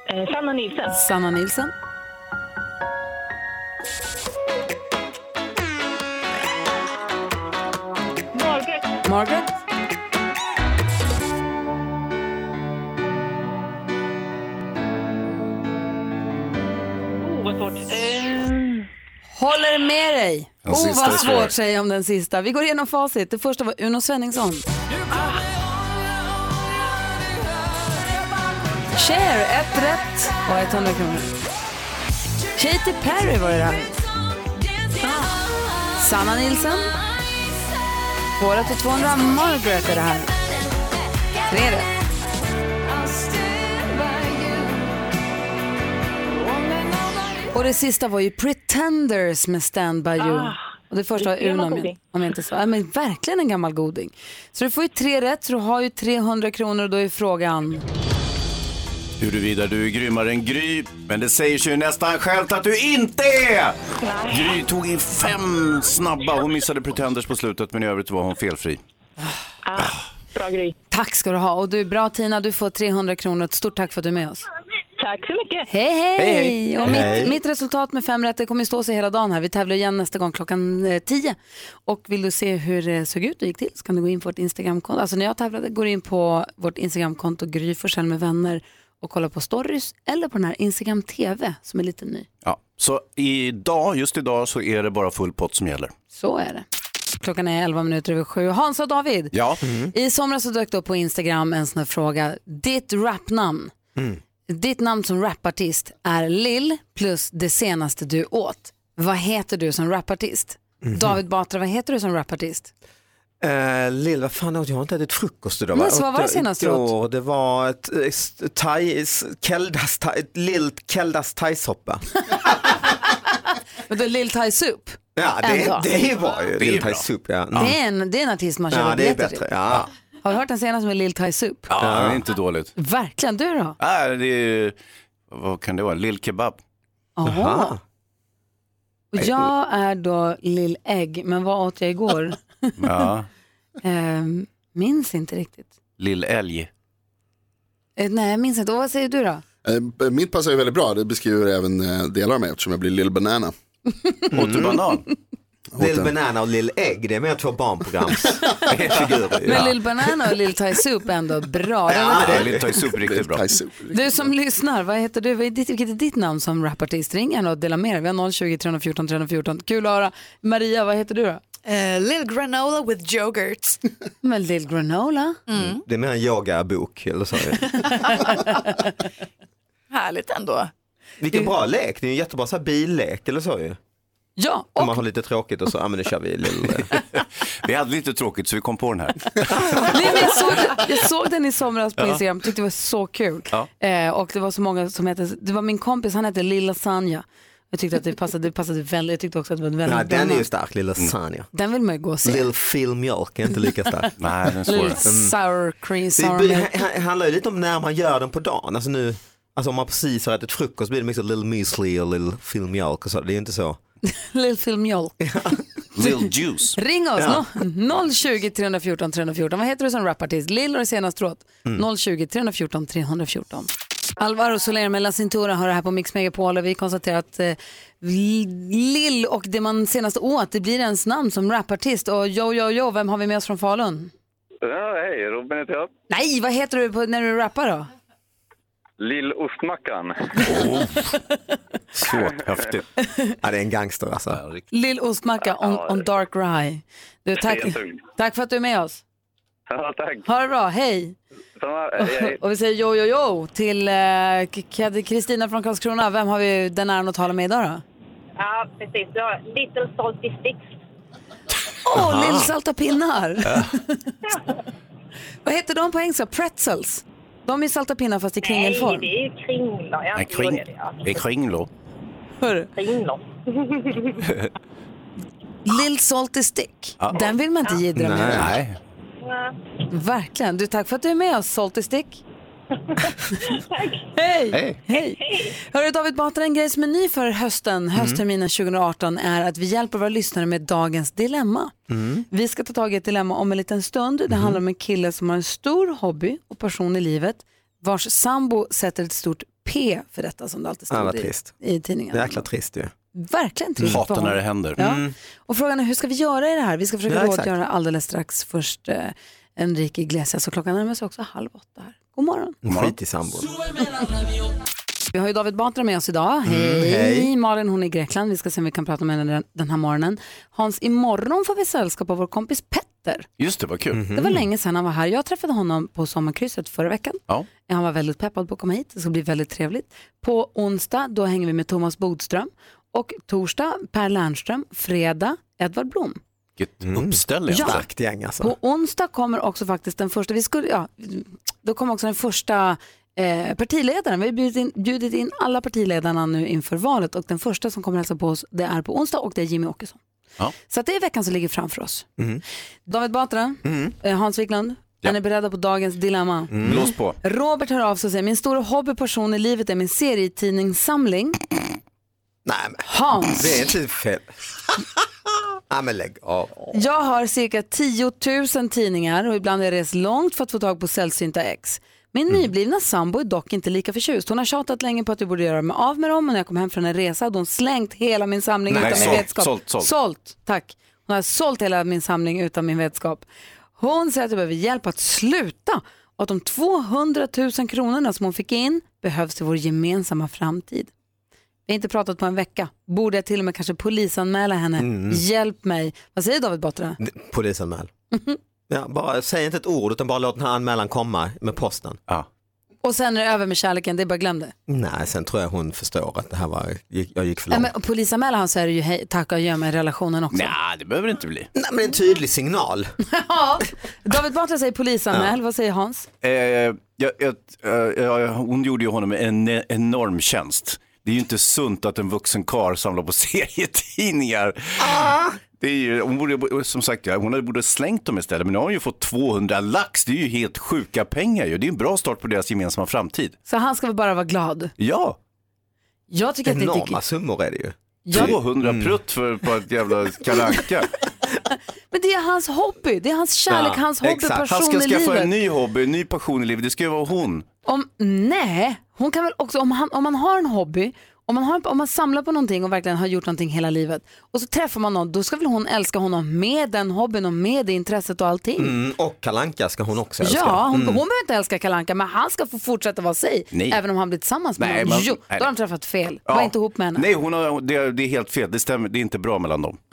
Eh, Sanna Nilsson.
Sanna Nilsson.
Margaret.
Margaret.
Oh, vad svårt. Eh,
Håller med dig.
Den
oh,
sista är
vad
svår.
svårt säger jag om den sista. Vi går igenom facit. Det första var Uno Svenningsson. Cher, ett rätt och 100 kronor. Katy Perry var det där. Ah. Sanna Nilsson. Två rätt och 200. Margaret är det här. Tre rätt. Och det sista var ju Pretenders med Stand By You.
Ah,
och det första var
vilken
Uno
gammal
om jag,
goding.
om jag inte sa. Ja, men verkligen en gammal goding. Så du får ju tre rätt, så du har ju 300 kronor och då är frågan.
Huruvida du är grymmare än Gry, men det säger sig ju nästan självt att du inte är! Gry tog in fem snabba, hon missade Pretenders på slutet men i övrigt var hon felfri.
Bra grej. Tack ska du ha. Och du är bra Tina, du får 300 kronor. Ett stort tack för att du är med oss.
Tack så mycket.
Hej, hej!
Hej, hej.
Och
Hej.
Mitt, mitt resultat med fem rätter kommer ju stå sig hela dagen här. Vi tävlar igen nästa gång klockan eh, 10. Och vill du se hur det såg ut och gick till så kan du gå in på vårt Instagramkonto. Alltså när jag tävlade går du in på vårt Instagramkonto Gry Forssell med vänner och kolla på stories eller på den här Instagram TV som är lite ny.
Ja, så idag, just idag så är det bara full pott som gäller.
Så är det. Klockan är 11 minuter över sju. Hans och David,
Ja.
i somras så dök det upp på Instagram en sån här fråga. Ditt rapnamn. Ditt namn som rapartist är Lill plus det senaste du åt. Vad heter du som rapartist?
Mhm.
David Batra, vad heter du som rapartist?
Eh, Lill, vad fan åt jag? jag? har inte ätit frukost idag.
Men så vad var det
Åt-
senast du åt?
igår, Det var ett, ett, thai, keldas, thai, ett lilt
[laughs]
keldas thaisoppa.
Men då Lill Thai Soup.
Ja,
Ändå.
det, det var ju
Det är
lilt
bra.
thaisup. Ja. Mm.
Det, är en, det är en artist man köper
ja, det är
biljetter
bättre. Ja.
till. Har du hört den senaste med Lill Thai Soup?
Ja, det är inte dåligt.
Verkligen, du då?
Ah, det är, vad kan det vara, lill-kebab?
Jaha. Och jag är då Lill Ägg, men vad åt jag
[laughs]
igår?
Ja,
Ehm, minns inte riktigt.
lill-älg.
Eh, nej, jag minns inte. Och vad säger du då?
Eh, Mitt passar ju väldigt bra, det beskriver även eh, delar av mig eftersom jag blir Lill Banana.
Åt du banan? Lill
en.
Banana och Lill Ägg, det är mer
[laughs]
två barnprogramsfigurer.
Men Lill Banana och Lill Thai Soup är ändå bra.
Ja, det är
Lill Thai Soup riktigt bra.
Du som lyssnar, vad heter du? Vad är ditt, vilket är ditt namn som rapartist? Ring gärna och dela med dig. Vi har 020 314 314. Kul att höra. Maria, vad heter du då?
Lill Granola with yoghurt.
[laughs] Men Lill Granola?
Det är mer en yogabok eller så.
Härligt ändå.
Vilken bra lek, det är en jättebra så här billek eller så ju.
Ja,
Om man har lite tråkigt och så, ja men nu kör vi lite.
Vi hade lite tråkigt så vi kom på den här.
Nej, men jag, såg, jag såg den i somras på
Ja.
Instagram, tyckte det var så kul.
Ja.
Eh, och det var så många som hette, det var min kompis, han hette Lilla Sanja. Jag tyckte att det passade, det passade väldigt, jag tyckte också att det var en väldigt
Ja,
bra
den är
namn.
ju stark, Lilla Sanja.
Den vill man ju gå och se.
Lill Phil Mjölk är inte lika stark.
[laughs] Nej, den är
Lill Sour Cream Sour
Mm. Det
Milk.
blir- ha- handlar ju lite om när man gör den på dagen. Alltså nu, alltså om man precis har ätit frukost blir det mycket så Lill Müsli och Lill Phil Mjölk och så. Det är ju inte så.
Lill Phil Mjölk.
Lill Juice.
Ring oss,
Ja.
no, 020 314 314. Vad heter du som rapartist? Lill och det senaste åt?
Mm.
020 314 314. Alvaro Soler med La Cintura har det här på Mix Megapol och vi konstaterar att eh, Lill och det man senast åt, det blir ens namn som rapartist. Och jo, jo, jo, vem har vi med oss från Falun?
Ja, hej, Robin heter jag.
Nej, vad heter du på, när du rappar då?
Lill-Ostmackan.
Oh.
Svårt, häftigt. Ja, det är en gangster alltså.
Lill Ostmacka on, on Dark Rye. Du, tack,
Stentung.
tack för att du är med oss.
Ja, tack.
Ha det bra, hej!
Samma, hej, hej.
[laughs] Och vi säger jo, jo, jo till eh, K- K- Kristina från Karlskrona. Vem har vi den äran att tala med idag då?
Ja, precis. Ja, little salty sticks.
Åh,
Aha.
lillsalta pinnar! [laughs] Vad heter de på engelska? Pretzels? De är salta pinnar fast i
Nej,
kringelform.
det är ju kringla. Ja,
En kring,
det är det, ja.
en kringlor.
Hörru,
Kringlor.
Lill Salty Stick,
Ja.
den vill man inte jiddra med.
Nej.
Verkligen. Du, tack för att du är med oss, Salty Stick. Hej!
Hej.
Hej! Hörru David Batra, en grej som är ny för hösten, höstterminen 2018 är att vi hjälper våra lyssnare med dagens dilemma.
Mm.
Vi ska ta tag i ett dilemma om en liten stund. Det handlar om en kille som har en stor hobby och passion i livet vars sambo sätter ett stort P för detta som det alltid
Ja,
stod
vad
i,
trist.
i tidningen.
Jäkla trist ju.
Verkligen trist.
Hatar
för
när
honom.
det händer.
Ja.
Mm.
Och frågan är hur ska vi göra i det här? Vi ska försöka
Ja, exakt.
rådgöra alldeles strax. Först eh, Enrique Iglesias och klockan närmar sig också halv åtta. Här. God morgon.
Skit i sambon.
Vi har ju David Batra med oss idag.
Mm,
Hej.
hej.
Malin hon är i Grekland. Vi ska se om vi kan prata med henne den- den här morgonen. Hans, imorgon får vi sällskap av vår kompis Petter.
Just det, vad kul.
Det var länge sedan han var här. Jag träffade honom på sommarkrysset förra veckan.
Ja.
Han var väldigt peppad på att komma hit. Det ska bli väldigt trevligt. På onsdag då hänger vi med Thomas Bodström och torsdag Per Lernström, fredag Edvard Blom.
Vilket uppställning.
Ja.
Starkt Mm. gäng alltså.
På onsdag kommer också faktiskt den första, vi skulle, ja, då kommer också den första eh, partiledaren. Vi har bjudit in, bjudit in alla partiledarna nu inför valet och den första som kommer hälsa på oss det är på onsdag och det är Jimmy Åkesson.
Ja.
Mm. Så att det är veckan som ligger framför oss. David Batra, eh, Hans Wiklund, Är ni beredda på dagens dilemma?
Mm. Blås på.
Robert hör av sig och säger, min stora hobby och passion i livet är min serietidningssamling.
Nej, men.
Hans.
Det är typ fel. Nej, men lägg av.
Jag har cirka 10 000 tidningar och ibland har jag rest långt för att få tag på sällsynta ex. Min
Mm.
nyblivna sambo är dock inte lika förtjust. Hon har tjatat länge på att vi borde göra mig av med dem och när jag kom hem från en resa hade hon slängt hela min samling
Nej,
utan min
sålt,
vetskap.
sålt, sålt.
sålt, tack. Hon har sålt hela min samling utan min vetskap. Hon säger att jag behöver hjälp att sluta och att de 200 000 kronorna som hon fick in behövs till vår gemensamma framtid. Vi har inte pratat på en vecka. Borde jag till och med kanske polisanmäla henne?
Mm.
Hjälp mig. Vad säger David Batra? [laughs]
Polisanmäl. Ja, bara, säg inte ett ord utan bara låt den här anmälan komma med posten.
Och sen är det över med kärleken, det är bara glöm det.
Nej, sen tror jag hon förstår att det här var, gick- jag gick för
Nej,
långt.
men polisanmäla han så är det ju hej, tacka och gömma i relationen också.
Nej, det behöver det inte bli. Nej, men en tydlig signal.
[laughs] Ja. David Batra säger polisanmäl, vad säger Hans?
Eh, jag, jag, eh, jag, hon gjorde ju honom en en enorm tjänst. Det är ju inte sunt att en vuxen karl samlar på [laughs] serietidningar.
Ah.
Det är ju, hon borde, som sagt, ja, hon hade borde ha slängt dem istället, men nu har hon ju fått 200 lax. Det är ju helt sjuka pengar ju. Det är en bra start på deras gemensamma framtid.
Så han ska väl bara vara glad.
Ja,
Jag tycker att det är
Enorma summor är det ju.
Jag-
200 prutt för på
[laughs]
ett jävla kalanka.
Men det är hans hobby, det är hans kärlek, hans hobby, passion
Han ska
i
skaffa
livet.
en ny hobby, en ny passion i livet. Det ska ju vara hon.
Om, nej, hon kan väl också, om, han, om man har en hobby, om man, har, om man samlar på någonting och verkligen har gjort någonting hela livet och så träffar man någon, då ska väl hon älska honom med den hobbyn och med det intresset och allting.
Mm, och kalanka ska hon också älska.
Ja, hon,
Mm.
hon behöver inte älska Kalle Anka, men han ska få fortsätta vara sig.
Nej.
Även om han blir tillsammans med
Nej,
någon.
men-
Jo,
nej.
då har de träffat fel.
Ja.
Var inte ihop med henne.
Nej, hon har, det, det är helt fel. Det stämmer. Det är inte bra mellan dem.
[laughs]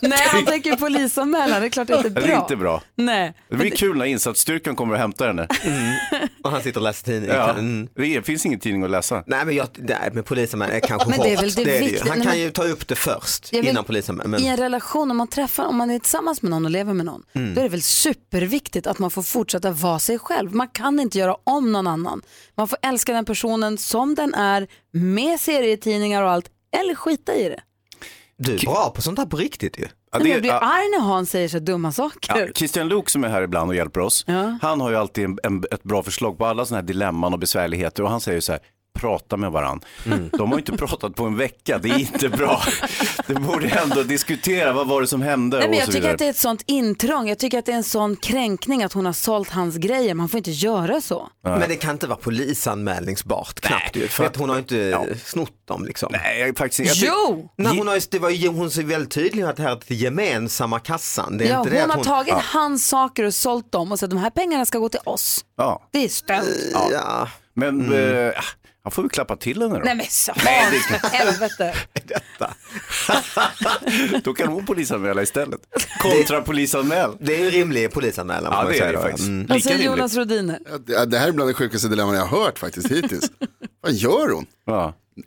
Nej, han tänker ju polisanmälan. Det är klart det
[laughs]
inte är bra.
Det är inte bra.
Nej.
Det blir kul när insatsstyrkan kommer och hämtar henne.
Mm. Och han sitter och läser Mm. tidning.
Ja, det finns ingen tidning att läsa.
Nej men, jag, nej, men polisen är kanske
Men
hårt.
det är väl det
ju.
viktiga.
Han
Nej,
kan
men-
ju ta upp det först
Jag vill-
innan polisen. Men...
I en relation, om man träffar, om man är tillsammans med någon och lever med någon,
Mm.
då är det väl superviktigt att man får fortsätta vara sig själv. Man kan inte göra om någon annan. Man får älska den personen som den är, med serietidningar och allt, eller skita i det.
Du är bra på sånt här på riktigt ju.
Nej,
Ja,
men
det,
jag blir
ja,
arg när Hans säger så dumma saker.
ja, Christian Luuk som är här ibland och hjälper oss, han har ju alltid en, en, ett bra förslag på alla sådana här dilemman och besvärligheter och han säger ju så här, prata med varandra.
Mm.
De har ju inte pratat på en vecka, det är inte bra.
[laughs]
Det borde ändå diskutera, vad var det som hände
Nej, men
och
jag
så
tycker
vidare.
att det är ett sånt intrång, jag tycker att det är en sån kränkning att hon har sålt hans grejer, man får inte göra så.
Men det kan inte vara polisanmälningsbart knappt ju, för att hon har inte snott dem liksom.
Nej, jag är faktiskt
Jo!
Nej, hon, har, ju- det var, ju- hon ser väldigt tydligt att det här är till gemensamma kassan. Det är
Ja,
inte det
hon
att
har tagit
Ja.
hans saker och sålt dem och sagt de här pengarna ska gå till oss.
Ja.
Det är stöld.
Ja.
Men mm. han får väl klappa till henne då.
Nej men så,
Mm. [laughs] Nej, det är
för [laughs] helvete.
Då kan hon polisanmäla istället. Kontra polisanmäl.
Det är ju rimlig polisanmälan.
Ja,
man
det
säga
är det
då.
faktiskt.
Mm.
Vad säger Jonas Rodiner?
Ja, Det, det här är bland det sjukaste dilemman jag har hört faktiskt
[laughs]
hittills. Vad gör hon?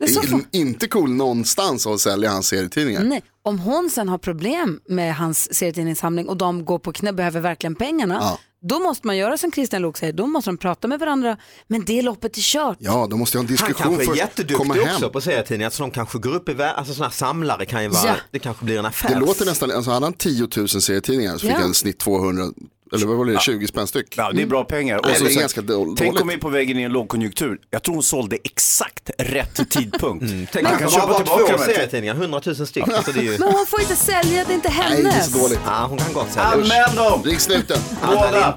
In, inte cool någonstans att sälja hans serietidningar.
Nej. Om hon sen har problem med hans serietidningssamling och de går på knä behöver verkligen pengarna,
Ja.
då måste man göra som Christian Luuk säger, då måste de prata med varandra, men det loppet är kört.
Ja, då måste jag ha en
Han
diskussion för
kanske är
att komma
jätteduktig
hem.
också på serietidningar, så de kanske går upp i världen, alltså sådana här samlare kan ju vara,
Ja.
det kanske blir en affär.
Det låter nästan, alltså hade han 10 000 serietidningar så fick
Ja.
han i snitt 200, eller vad var det, 20 spänn styck.
Ja, det är bra pengar.
Nej,
så
det är
sen-
ganska då-
Tänk
dåligt.
om vi är på vägen i en lågkonjunktur. Jag tror hon sålde exakt rätt tidpunkt. Mm,
Tänk att hon bara har två serietidningar, 100
[laughs]
000 styck. Alltså det är ju...
Men hon får inte sälja, det är inte hennes.
Ja, hon kan gott säga
Anmäl dem!
Ring snuten.
Båda!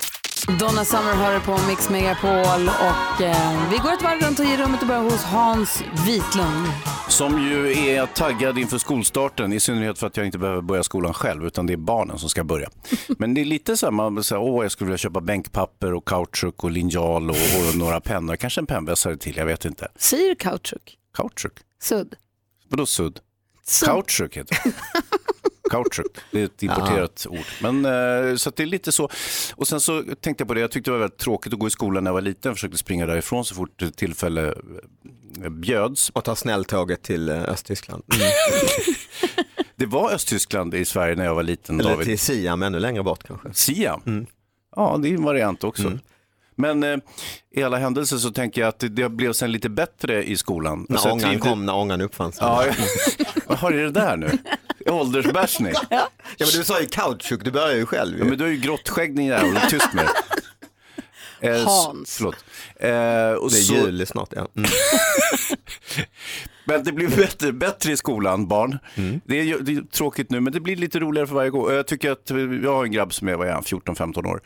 Donna Summer hör du på Mix Megapol och eh, vi går ett varv runt och ger rummet och börjar hos Hans Wiklund.
Som ju är taggad inför skolstarten, i synnerhet för att jag inte behöver börja skolan själv, utan det är barnen som ska börja. Men det är lite så här, man säger, åh, jag skulle vilja köpa bänkpapper och kautschuk och linjal och, och några pennor, kanske en pennvässare till, jag vet inte.
Säger du kautschuk?
Kautschuk?
Sudd?
Vadå sudd?
Sudd.
Kautschuk heter det. Kautschuk, det är ett importerat ord. Men, eh, så att det är lite så. Och sen så tänkte jag på det, jag tyckte det var väldigt tråkigt att gå i skolan när jag var liten. Jag försökte springa därifrån så fort tillfälle eh, bjöds.
Och ta snälltåget till eh, Östtyskland.
det var Östtyskland i Sverige när jag var liten,
Eller
David.
till Siam, ännu längre bort kanske.
Siam?
Mm.
Ja, det är en variant också. Men eh, i alla händelser så tänker jag att det- det blev sen lite bättre i skolan.
När
Alltså, jag
ångan
trivdes- [laughs]
kom, när ångan uppfanns.
Ja, jag- vad har du det där nu? Åldersbärsning?
Ja, men du sa ju kautschuk, du börjar ju själv.
Ja, men du är ju grottskägg din jävel, håll tyst med dig. Eh, s-
Hans.
Förlåt. Eh, och
Det är
så-
jul snart, ja. Mm.
Men det blir bättre, bättre i skolan, barn. Det, är, ju- det är tråkigt nu, men det blir lite roligare för varje gång. Och Jag tycker att, eh, jag har en grabb som är, vad är han, 14-15 år.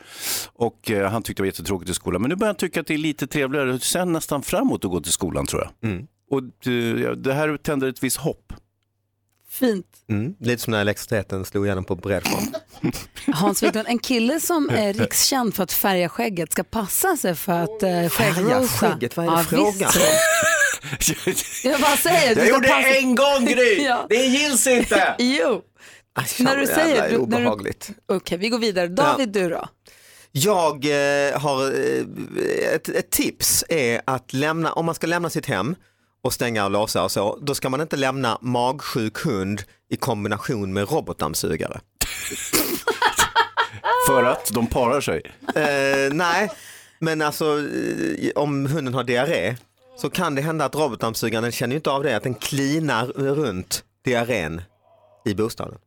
Och eh, han tyckte det var jättetråkigt i skolan. Men nu börjar han tycka att det är lite trevligare, sen nästan framåt att gå till skolan tror jag.
Mm.
Och eh, det här tänder ett visst hopp.
Fint.
Mm. Lite som när elektriciteten slog igenom på bred front.
[laughs] Hans Wiklund, en kille
[laughs]
som är rikskänd för att färga skägget ska passa sig för att eh, skäggrosa.
skägget? Vad är det frågan
visst.
[laughs]
Jag bara säger.
Jag
du ska
gjorde
passa-
en
[laughs]
gång, Gry.
Det gills inte.
jo. när du
vad jävla
säger. du- när du-
obehagligt.
Okej, vi går vidare. David, du då?
Jag eh, har eh, ett, ett tips är att lämna, om man ska lämna sitt hem och stänga och låsa och så, då ska man inte lämna magsjuk hund i kombination med robotdammsugare.
[laughs] För att de parar sig?
Eh, nej, men alltså eh, om hunden har diarré så kan det hända att robotdammsugaren den känner ju inte av det, att den klinar runt diarrén i bostaden.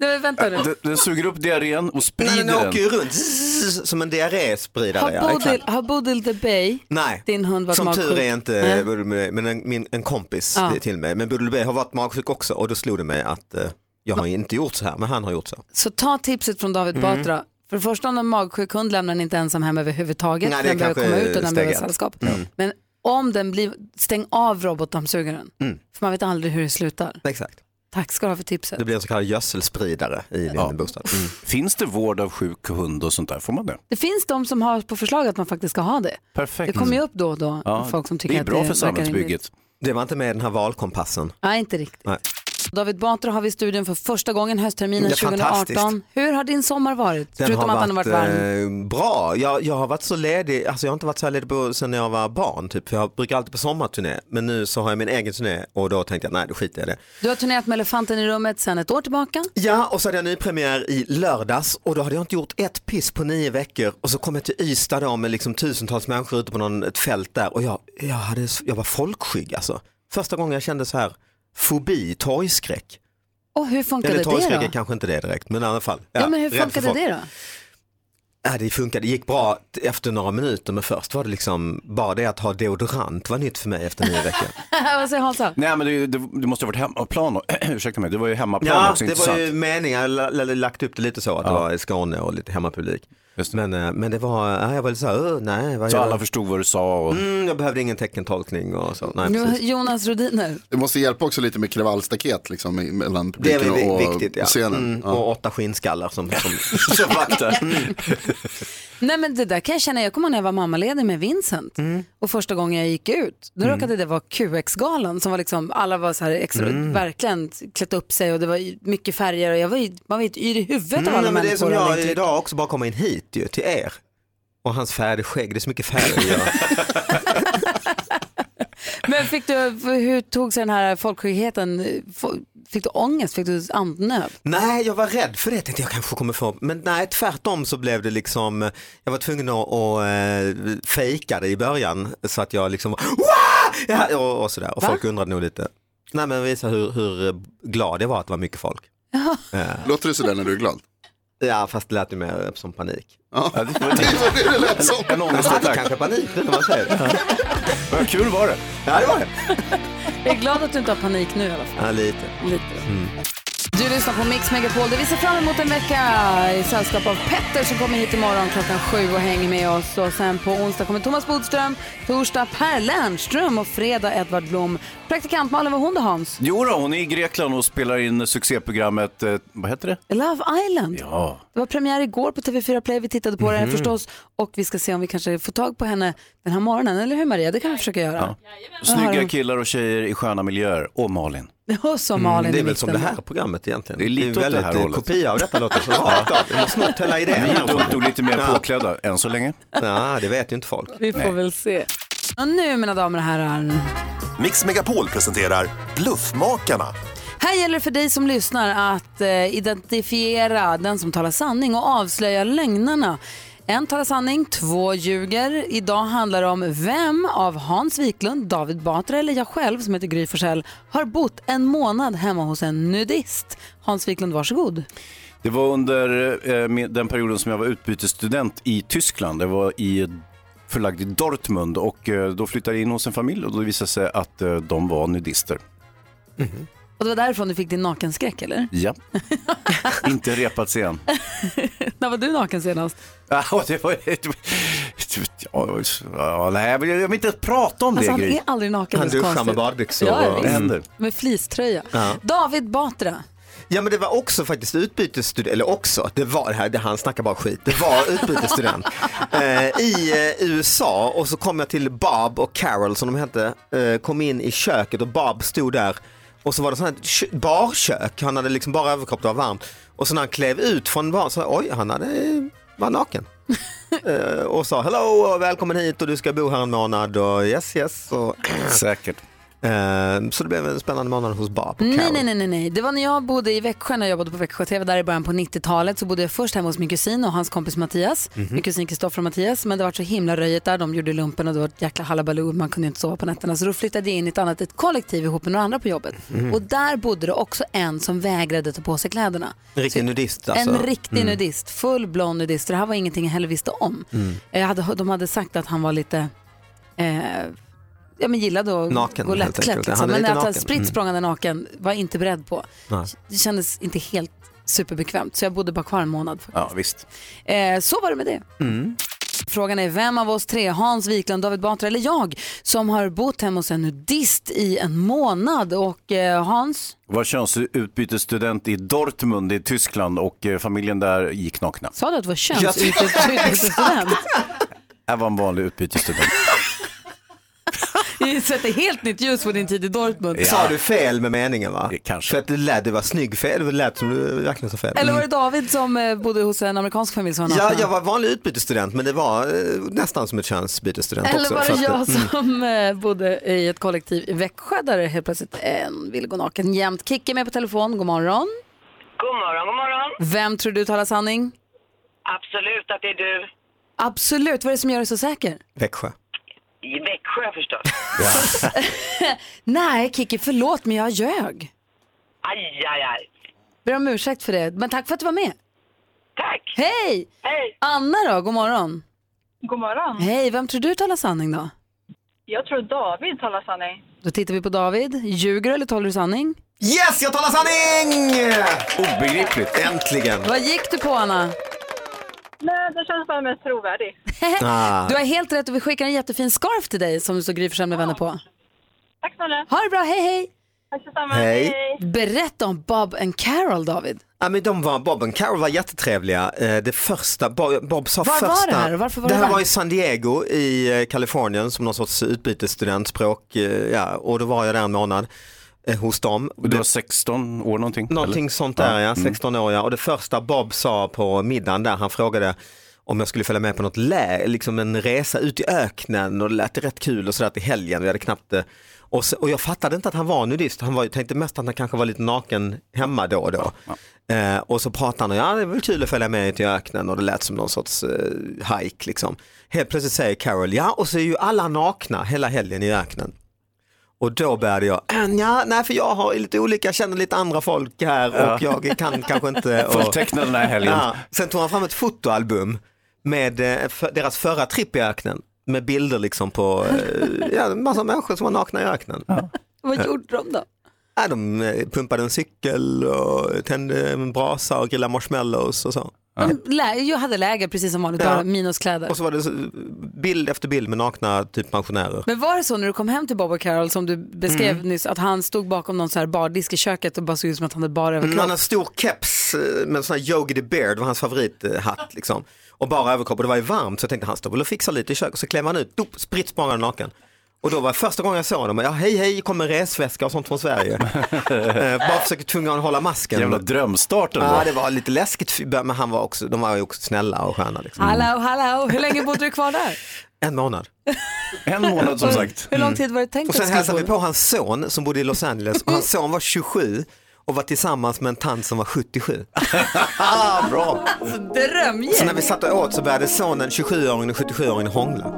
Nej, men vänta nu.
Den, den suger upp diarrén och sprider
Nej, den åker ju
den.
runt zzz, som en diarréspridare.
Har
ja,
Bodil,
exakt.
har Bodil the Bay,
Nej.
din hund, varit
Som tur är inte
Nej.
Budel B, men en, min, en kompis
Ja.
till mig. Men Budel B har varit magsjuk också och då slog det mig att eh, jag har inte gjort så här, men han har gjort så.
Så ta tipset från David
Mm.
Batra. För det första, om en magsjuk hund lämnar den inte ensam hem överhuvudtaget.
Nej, det är
den behöver komma
kanske
ut och den behöver
steg ett.
sällskap.
Mm.
Men om den blir, stäng av robotdammsugaren.
Mm.
För man vet aldrig hur det slutar.
Exakt.
Tack ska du ha för tipset.
Det blir en så kallad gödselspridare i din bostad.
Finns det vård av sjuk hund och sånt där? Får man det?
Det finns de som har på förslag att man faktiskt ska ha det.
Perfekt.
Det kommer ju upp då och då. folk som tycker
det är
att
bra
det
för
verkar
samhällsbygget. Det var inte med i den här valkompassen.
Nej, inte riktigt.
Nej.
David Batra har vi i studion för första gången höstterminen
Det är
2018.
fantastiskt.
Hur har din sommar varit?
Den
Förutom
har
att den har varit varm.
eh, bra. Jag, jag har varit så ledig, alltså jag har inte varit så här ledig på, sen jag var barn typ. För jag brukar alltid på sommarturné, men nu så har jag min egen turné och då tänkte jag nej, då skiter jag i det.
Du har turnerat med Elefanten i rummet sedan ett år tillbaka.
Ja, och så hade jag nypremiär i lördags och då hade jag inte gjort ett piss på nio veckor och så kom jag till Ystad då med liksom tusentals människor ute på någon, ett fält där och jag, jag, hade, jag var folkskygg alltså. Första gången jag kände så här fobi, torgskräck.
Och hur funkade
Eller
det då?
torgskräck är kanske inte det direkt, men i alla fall.
Ja, men hur
rädd för
funkade
folk.
det då? [laughs]
Ja, det funkade, det gick bra efter några minuter men först var det liksom bara det att ha deodorant var nytt för mig efter nio veckor.
Vad säger Hansa?
[laughs] Nej, men det, det, det måste ha varit hemmaplan. [clears throat] Ursäkta mig, det var ju hemmaplan
Ja,
också.
det
intressant.
var ju meningen, jag la- la- lagt upp det lite så att det var i Skåne och lite hemmapublik. Men, eh, men det var, ja, jag var lite så här, "Åh, nej. Vad
Så
gör jag?"
alla förstod vad du sa. Och...
Mm, jag behövde ingen teckentolkning och så. Nej,
Nu,
precis.
Jonas Rodiner.
Det måste hjälpa också lite med kravallstaket liksom, i- mellan
Det är
publiken
väl vi-
och
viktigt ja.
scenen.
Mm,
Ja.
Och åtta skinnskallar som, som,
[laughs]
som vaktar. Mm.
Nej men det där kan jag känna, jag kommer ihåg när jag var mammaledig med Vincent
Mm.
och första gången jag gick ut, då råkade det vara QX-galan som var liksom, alla var så här extra,
Mm.
verkligen klätt upp sig och det var ju mycket färger och jag var ju, man var ju yr i huvudet
Mm,
av alla
nej, men det är som
människor.
jag
Jag, jag,
idag också bara kommer in hit ju, till er. Och hans färgskägg, det är så mycket färg. i det.
men fick du, hur tog sig den här folksjukheten, fick du ångest, fick du andnöd?
nej, jag var rädd för det. Jag tänkte jag kanske kommer få. Men nej, tvärtom så blev det liksom, jag var tvungen att, att eh, fejka det i början. Så att jag liksom, "Wah!" ja, och, och sådär. Och
Va?
folk undrade nog lite. Nej men visa hur, hur glad jag var att det var mycket folk.
Låter det sådär när du är glad?
Ja, fast det lät ju mer som panik.
Ja, det [laughs] var det det lät som.
En ångestattack. Alltså, kanske panik, det är vad man säger.
Vad kul var det.
Ja, det var det.
jag är glad att du inte har panik nu i alla fall.
Ja, lite.
Lite.
Mm.
Du lyssnar på Mix Megapol där vi ser fram emot en vecka i sällskap av Petter som kommer hit imorgon klockan sju och hänger med oss. Och sen på onsdag kommer Thomas Bodström, torsdag Per Lernström och fredag Edvard Blom. Praktikant Malin, vad hon då Hans?
Jo då, hon är i Grekland och spelar in succéprogrammet, eh, vad heter det?
Love Island.
Ja.
Det var premiär igår på TV4 Play, vi tittade på den
Mhm.
förstås och vi ska se om vi kanske får tag på henne den här morgonen, eller hur Maria? Det kan vi försöka göra.
ja.
Vad har hon-
Snygga killar och tjejer i sköna miljöer. Och Malin.
Och så Malin
Mm, det
i
är väl
mitten.
som det här programmet egentligen.
Det är lite åt det
väldigt
här
eh,
hållet.
kopia av
[laughs]
detta låter som rakt av. Vi har snott hela idén.
Vi är dumt och lite mer
Ja.
påklädda än så länge.
Ja, det vet ju inte folk.
Vi får väl se. Och nu mina damer och herrar,
Mix Megapol presenterar Bluffmakarna.
Här gäller det för dig som lyssnar att eh, identifiera den som talar sanning och avslöja lögnarna. En talar sanning, två ljuger. Idag handlar det om vem av Hans Wiklund, David Batra eller jag själv som heter Gry Forssell har bott en månad hemma hos en nudist. Hans Wiklund, varsågod.
Det var under eh, min- den perioden som jag var utbytesstudent i Tyskland. Jag var i, förlagd i Dortmund och eh, då flyttade jag in hos en familj och då visade det sig att eh, de var nudister.
Och det var därifrån du fick din nakenskräck eller? [laughs]
Ja, inte repats igen.
När var du naken senast?
Ja, det var... Ja, ja, nej, jag vill, jag vill inte prata om
Alltså
det,
han
Gry.
är aldrig naken. det är så konstigt.
Ja,
Ja,
det
visst.
händer.
Med fleecetröja.
Ja.
David Batra.
Ja men det var också faktiskt utbytesstudent, eller också, det var det här, det, han snackar bara skit, det var utbytesstudent eh, i eh, USA och så kom jag till Bob och Carol som de hette, eh, kom in i köket och Bob stod där och så var det sånt här kö- barkök, han hade liksom bara överkropp, det var varmt och så när han klev ut från barn så oj, han hade, var naken. eh, och sa hello och välkommen hit och du ska bo här en månad och yes yes. Och
Säkert.
Eh, så det blev en spännande månad hos Bob och
Nej,
Carol.
nej, nej, nej, nej. Det var när jag bodde i Växjö, när jag jobbade på Växjö TV, där i början på 90-talet så bodde jag först hemma hos min kusin och hans kompis Mattias,
Mhm.
min kusin Kristoffer och Mattias, men det var så himla röjigt där, de gjorde lumpen och det var ett jäkla hallabaloo, man kunde inte sova på nätterna, så då flyttade jag in i ett annat, ett kollektiv ihop med några andra på jobbet.
Mhm.
Och där bodde det också en som vägrade ta på sig kläderna.
En riktig nudist alltså.
En riktig
Mm.
nudist, full blond nudist, så det här var ingenting jag heller visste om.
Mm.
Jag Eh, hade, de hade sagt att han var lite, eh, ja men gillade att
Naken,
gå
helt
lättklätt.
enkelt.
Liksom.
Han är
Men
lite
att han
naken.
spritt
Mm.
språngande naken var jag inte beredd på.
Nej.
Det kändes inte helt superbekvämt så jag bodde bara kvar en månad.
Ja, visst.
Eh, så var det med det.
Mm.
Frågan är vem av oss tre, Hans Wiklund, David Batra eller jag, som har bott hemma hos en nudist i en månad. Och eh, Hans?
Var könsutbytesstudent i Dortmund i Tyskland och eh, familjen där gick nakna.
Sa du att det var
Ja,
[laughs] könsutbytesstudent?
Jag var en vanlig utbytesstudent.
Vi sätter helt nytt ljus på din tid i Dortmund.
Sa du fel med meningen va? Kanske. Mm. För att det lät, det var snygg fel, det lät som du verkligen sa fel.
Eller var det David som eh, bodde hos en amerikansk familj som var
Ja,
naken?
jag var vanlig utbytesstudent men det var eh, nästan som ett könsbytesstudent
Eller
också.
var
för att
det jag
mm.
som eh, bodde i ett kollektiv i Växjö där det helt plötsligt en ville gå naken jämt. Kicke med på telefon, god morgon.
God morgon, god morgon.
Vem tror du talar sanning?
Absolut att det är du.
Absolut, vad är det som gör dig så säker?
Växjö.
I Växjö förstås.
[laughs] Nej, Kicki, förlåt men jag ljög.
Aj, aj, aj.
Ber om ursäkt för det, men tack för att du var med. Tack! Hej! Hej! Anna då, god morgon.
God morgon.
Hej, vem tror du talar sanning då?
Jag tror David talar sanning.
Då tittar vi på David. Ljuger du eller talar du sanning?
Yes, jag talar sanning!
Obegripligt.
[laughs]
Mm. Äntligen.
Vad gick du på
[laughs]
Anna?
Nej, det känns bara mest trovärdig.
Du har helt rätt och vi skickar en jättefin scarf till dig som du så Gry Forssell med vänner på.
Tack snälla.
Ha det bra, hej hej.
Tack detsamma.
Hej.
Berätta om Bob and Carol David.
Ja, men de var, Bob och Carol var jättetrevliga. Eh, Det första, Bob, Bob sa
Var var
första...
det här? Varför var
det
det
här
där?
var i San Diego i eh, Kalifornien som någon sorts utbytesstudentspråk. eh, Ja, och då var jag där en månad eh, hos dem.
Du var 16 år någonting?
Någonting
eller?
sånt där ja,
Mm.
16 år ja. Och det första Bob sa på middagen där, han frågade om jag skulle följa med på något lä, liksom en resa ut i öknen och det lät rätt kul och sådär till helgen. Vi hade knappt det. Och, så, och jag fattade inte att han var nudist, han var, jag tänkte mest att han kanske var lite naken hemma då och då. Eh, och så pratade han och ja det är väl kul att följa med ut i öknen och det lät som någon sorts eh, hike liksom. Helt plötsligt säger Carol, ja och så är ju alla nakna hela helgen i öknen. Och då började jag, ja, nej för jag har lite olika, jag känner lite andra folk här och
Ja.
jag
[laughs]
kan kanske inte. och-
Fulltecknad den här helgen.
Ja. Sen tog han fram ett fotoalbum med eh, för, deras förra tripp i öknen med bilder liksom på eh, ja, en massa människor som var nakna i öknen.
Vad gjorde de då?
Ja, de eh, pumpade en cykel och tände eh, en brasa och grillade marshmallows och så.
De lä- jag hade läger precis som vanligt,
Ja.
bara minuskläder.
Och så var det så, eh, bild efter bild med nakna typ pensionärer.
Men var det så när du kom hem till Bob och Carol som du beskrev
Mm.
nyss, att han stod bakom någon så här bardisk i köket och bara såg ut som att han hade bar
Mm,
överkropp?
han har stor keps eh, med en sån här Yogi the Bear, det var hans favorithatt liksom. Och bara överkropp och det var ju varmt så jag tänkte han står väl och fixar lite i köket. Så klev han ut, dop, spritt språngande naken. Och då var första gången jag såg honom, ja hej hej, kom en resväska och sånt
[laughs]
från Sverige. eh, bara försökte tvunga honom att hålla masken.
Jävla drömstart ändå.
Ja det var lite läskigt, men han var också, de var ju också snälla och sköna. Liksom.
Hallå, hallå, hur länge bodde du kvar
[laughs]
där?
En månad.
[laughs] En
månad,
Mm.
som sagt. Hur lång tid var det tänkt
Och
att
sen
det skulle
hälsade vi på hans son som bodde i Los Angeles och hans son var 27 och var tillsammans med en tant som var 77. Ah, Bra!
Drömgäng.
Så Alltså, när vi satt och åt så började sonen, 27-åringen och 77-åringen hångla.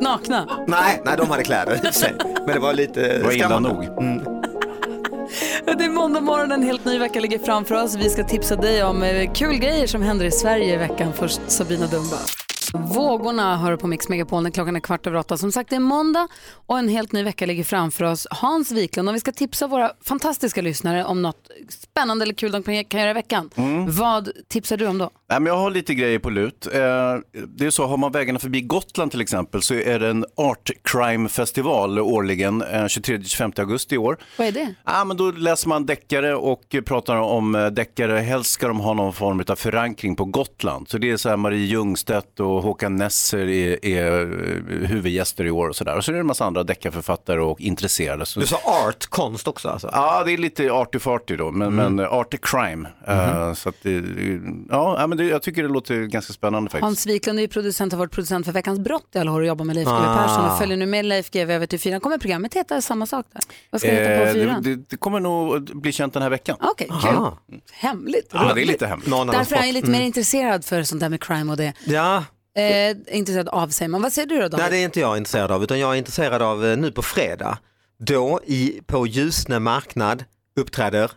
Nakna.
Nej, nej, de hade kläder i och för sig. Men det var lite det
var illa
nog. Mm.
Det är måndag morgon, en helt ny vecka ligger framför oss. Vi ska tipsa dig om eh, kul grejer som händer i Sverige i veckan. Först Sabina Dumba. Vågorna hör på Mix Megapol när klockan är kvart över åtta. Som sagt, det är måndag och en helt ny vecka ligger framför oss. Hans Wiklund, om vi ska tipsa våra fantastiska lyssnare om något spännande eller kul de kan kan göra i veckan,
Mm.
vad tipsar du om då?
Nej, men jag har lite grejer på lut. Eh, det är så, har man vägarna förbi Gotland till exempel så är det en Art Crime-festival årligen, eh, 23-25 augusti i år.
Vad är det?
Ja, men då läser man deckare och pratar om eh, deckare. Helst ska de ha någon form av förankring på Gotland. Så det är så här Marie Ljungstedt och Håkan Nesser är, är eh, huvudgäster i år och sådär. Och så är det en massa andra deckarförfattare och intresserade. Så...
Du sa art, konst också alltså? Mm.
Ja, det är lite arty-farty då, men, men eh, arty crime. Eh,
Mhm.
så att det, ja, ja, men det, jag tycker det låter ganska spännande faktiskt.
Hans Wiklund är ju producent och har varit producent för Veckans brott i alla år och jobbar med Leif GW
Ah.
Persson och följer nu med Leif GW över till fyran. Kommer programmet heta samma sak där? Vad ska det heta på
Eh,
fyran?
det, det, det kommer nog att bli känt den här veckan.
Okej, kul. Hemligt.
Ja, det Mm. är
roligt.
lite hemligt.
Därför är han ju lite mer intresserad för sånt där med crime och det.
Ja,
Eh, intresserad av sig. Men vad säger du då David?
Nej, det är inte jag intresserad av, utan jag är intresserad av eh, nu på fredag. Då i, på Ljusne marknad uppträder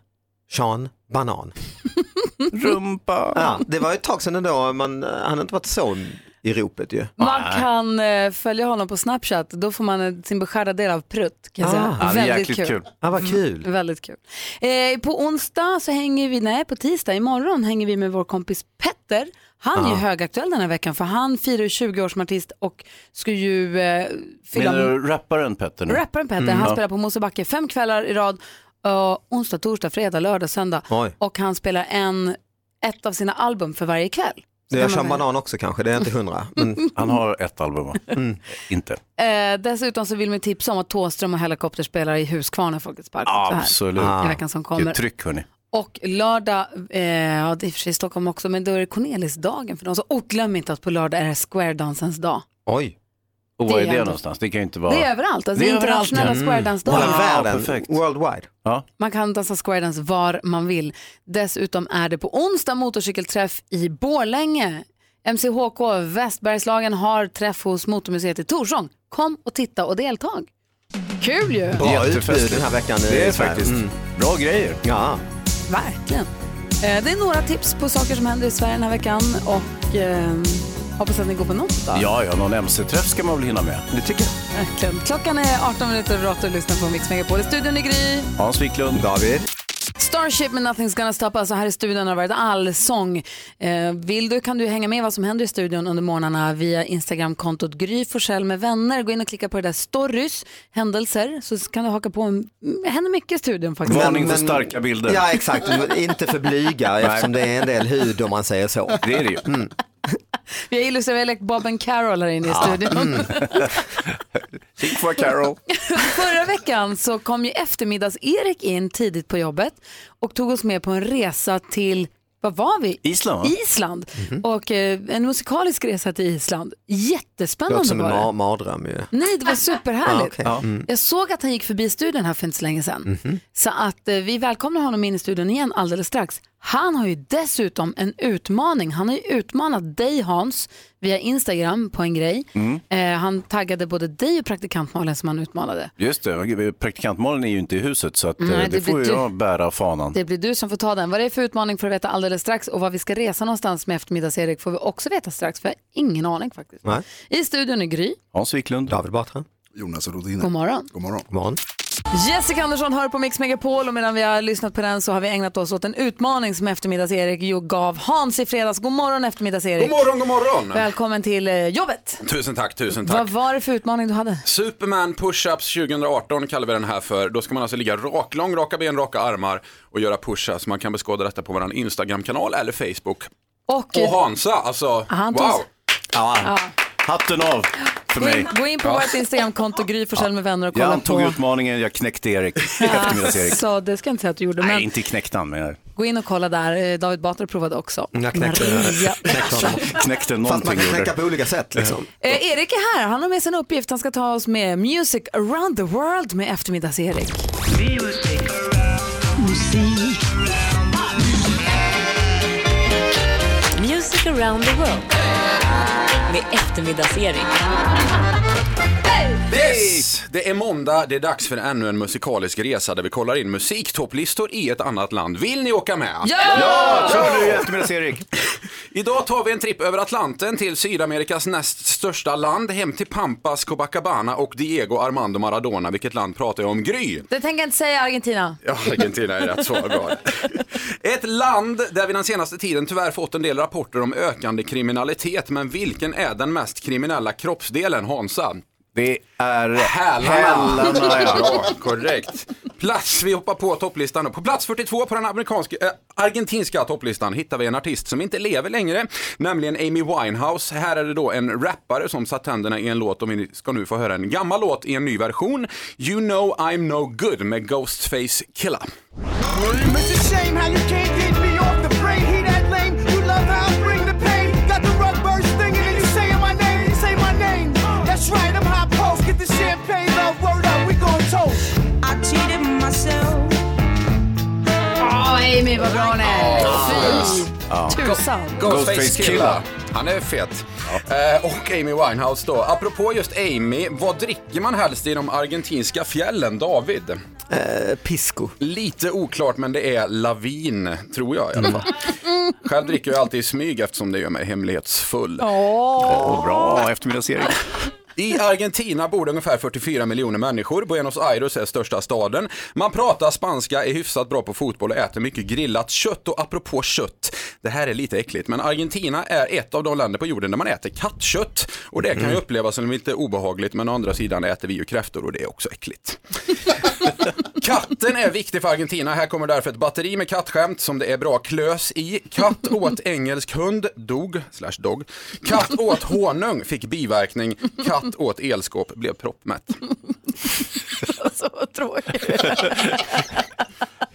Sean Banan.
[laughs] Rumpa.
Ja, det var ett tag sedan ändå, man, han har inte varit så i ropet ju.
Man kan eh, följa honom på Snapchat, då får man eh, sin beskärda del av prutt. Kan jag säga. Väldigt kul.
Ja, vad
[laughs]
kul.
Mm, Väldigt kul. Eh, på onsdag så hänger vi, nej på tisdag, imorgon hänger vi med vår kompis Petter. Han är ju
Ja.
högaktuell den här veckan för han firar ju 20 år som artist och ska ju eh, fylla
Menar du rapparen Petter? nu?
Rapparen Petter,
Mm.
han
Ja.
spelar på Mosebacke fem kvällar i rad. eh, onsdag, torsdag, fredag, lördag, söndag.
Oj.
Och han spelar en, ett av sina album för varje kväll.
Det
kan
är
man
Sean
välja.
Banan också kanske, det är inte hundra. Men... Mm.
Han har ett album va? Inte.
Eh, dessutom så vill vi tipsa om att Thåström och Helikopter spelar i Huskvarna Folkets Park. också här
Absolut.
Ah.
I veckan som kommer.
Vilket tryck hörni.
Och lördag, eh, ja det är i och för sig i Stockholm också, men då är det Cornelisdagen för dem. Så, och glöm inte att på lördag är det Square-dansens dag.
Oj.
Och vad
Det
är
är
det
ändå-
någonstans? Det kan ju inte vara...
Det är överallt, alltså internationella
Mm.
squaredansdagen.
Mm. Hela världen,
perfekt.
worldwide.
Ja.
Man kan dansa squaredance var man vill. Dessutom är det på onsdag motorcykelträff i Borlänge. MCHK Västbergslagen har träff hos Motormuseet i Torsång. Kom och titta och deltag. Kul ju!
Bra utbud
Jättefestligt.
den här veckan i
Det är
Sverige. Mm.
faktiskt bra grejer.
Ja.
Verkligen. Eh, Det är några tips på saker som händer i Sverige den här veckan och eh, hoppas att ni går på något då.
Ja, ja, någon MC-träff ska man väl hinna med. Det tycker jag.
Verkligen. Klockan är 18 minuter över 8 och du lyssnar på Mix Megapol. I studion är Gry.
Hans Wiklund.
David.
Starship med Nothing's gonna stop us. Och här i studion har det varit allsång. Eh, vill du kan du hänga med vad som händer i studion under morgnarna via Instagramkontot Gry Forssell med vänner. Gå in och klicka på det där stories, händelser, så kan du haka på. en- Det händer mycket i studion faktiskt.
Varning för starka bilder.
Mm. Ja, exakt. Inte för
[laughs]
blyga
Nej.
eftersom det är en del hud om man säger så.
Det är det ju.
Mm.
Vi har illustrerat, vi har lekt Bob and Carol här inne i
Ja.
studion.
[laughs]
Mm.
Think for Carol.
Förra veckan så kom ju eftermiddags-Erik in tidigt på jobbet och tog oss med på en resa till, vad var vi?
Island, va?
Island. Och eh, en musikalisk resa till Island.
Det låter
Jättespännande
som en
var det.
ma- mardröm ju.
Nej, det var superhärligt.
Ah, okej. Mm. Ja. Mm. Mhm.
Jag såg att han gick förbi studion här för inte så länge sedan. Så att eh, vi välkomnar honom in i studion igen alldeles strax. Han har ju dessutom en utmaning. Han har ju utmanat dig Hans via Instagram på en grej.
Mm.
Mm.
Eh, han taggade både dig och praktikant Malin som han utmanade.
Just det, praktikantmålen är ju inte i huset så att, eh,
Nej,
det,
det
får
blir
ju
du.
jag bära fanan.
Det blir du som får ta den. Vad det är för utmaning får du veta alldeles strax och vad vi ska resa någonstans med eftermiddags-Erik får vi också veta strax för jag har ingen aning faktiskt.
Nej.
I studion är Gry.
Hans Wiklund.
David Batra.
Jonas Rodiner.
God morgon.
God morgon.
God morgon.
Jessica Andersson hör på Mix Megapol och medan vi har lyssnat på den så har vi ägnat oss åt en utmaning som eftermiddags-Erik ju gav Hans i fredags. God morgon eftermiddags-Erik.
God morgon, god morgon.
Välkommen till eh, jobbet.
Tusen tack, tusen tack.
Vad var det för utmaning du hade?
Superman push-ups 2018 kallar vi den här för. Då ska man alltså ligga raklång, raka ben, raka armar och göra push-ups. Man kan beskåda detta på vår Instagram-kanal eller Facebook.
Och,
Och Hansa, alltså
Han tog-
wow.
Ja.
Hatten av för
Gå in,
mig.
gå in på vårt Instagramkonto Gry Forssell med vänner och
Jag
kolla
antog
på.
utmaningen, jag
[laughs]
knäckte Erik. Eftermiddags-Erik.
Så det ska jag inte säga att du gjorde, men
Nej, inte knäckte han, men jag
gå in och kolla där. Eh, David Batra provade också.
Jag knäckte-
Maria.
[laughs] knäckte
Fast
någonting.
man kan
gjorde
knäcka
det.
på olika sätt liksom.
Eh, Erik är här, han har med sig en uppgift. Han ska ta oss med Music around the world med eftermiddags-Erik.
musik. Music around the world. Med eftermiddagsserie.
Yes! Det är måndag, det är dags för ännu en musikalisk resa där vi kollar in musiktopplistor i ett annat land. Vill ni åka med?
Ja! Ja, kör nu i
eftermiddags-Erik! Idag tar vi en tripp över Atlanten till Sydamerikas näst största land, hem till Pampas, Copacabana och Diego Armando Maradona. Vilket land pratar jag om? Gry!
Det tänker jag inte säga Argentina.
Ja, Argentina är rätt svar. bra. Ett land där vi den senaste tiden tyvärr fått en del rapporter om ökande kriminalitet. Men vilken är den mest kriminella kroppsdelen, Hansa? Det är hälarna.
hälarna,
[laughs]
ja.
Bra, korrekt. Plats, vi hoppar på topplistan. På plats 42 på den amerikanska, äh, argentinska topplistan hittar vi en artist som inte lever längre, nämligen Amy Winehouse. Här är det då en rappare som satt tänderna i en låt och vi ska nu få höra en gammal låt i en ny version. You know I'm no good med Ghostface Killah.
It's a shame how you can't get me off the brain. He that lame, you love how I bring the pain. Got the rug burst thing, and then you saying my name, you say my name. That's right, I'm hot post. Get the champagne, love, word up, we gon' toast. I cheated myself.
Åh, Amy vad bra hon är.
Fy.
Ja. Tusan.
Ghostface Killah. Han är fet. Eh, och Amy Winehouse då. Apropå just Amy, vad dricker man helst i de argentinska fjällen, David?
pisco.
Lite oklart, men det är lavin, tror jag i alla fall. Själv dricker jag alltid i smyg eftersom det gör mig hemlighetsfull.
Oh.
Åh,
bra eftermiddagsserie. I Argentina bor det ungefär 44 miljoner människor. Buenos Aires är största staden. Man pratar spanska, är hyfsat bra på fotboll och äter mycket grillat kött. Och apropå kött, det här är lite äckligt, men Argentina är ett av de länder på jorden där man äter kattkött. Och det kan ju upplevas som lite obehagligt, men å andra sidan äter vi ju kräftor och det är också äckligt. Katten är viktig för Argentina. Här kommer därför ett batteri med kattskämt som det är bra klös i. Katt åt engelsk hund, dog, slash dog. Katt åt honung, fick biverkning. Katt åt elskåp, blev proppmätt.
Så tråkigt.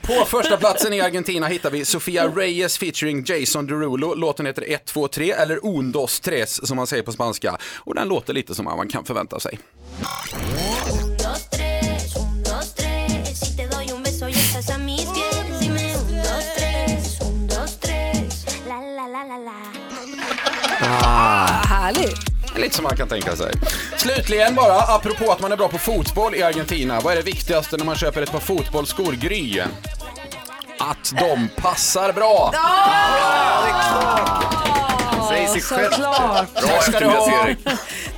På första platsen i Argentina hittar vi Sofia Reyes featuring Jason Derulo. Låten heter 123 eller Undos Tres som man säger på spanska. Och den låter lite som man kan förvänta sig.
Un, dos, tres, si te doy un beso y estás a mis pies. Dime un, dos, tres, un, dos, tres. La, la, la, la, la.
Ah.
Härligt.
Lite som man kan tänka sig. Slutligen bara, apropå att man är bra på fotboll i Argentina. Vad är det viktigaste när man köper ett par fotbollsskor, Gry? Att de passar bra.
Säg sig själv.
Såklart.
Bra eftermiddags-Erik.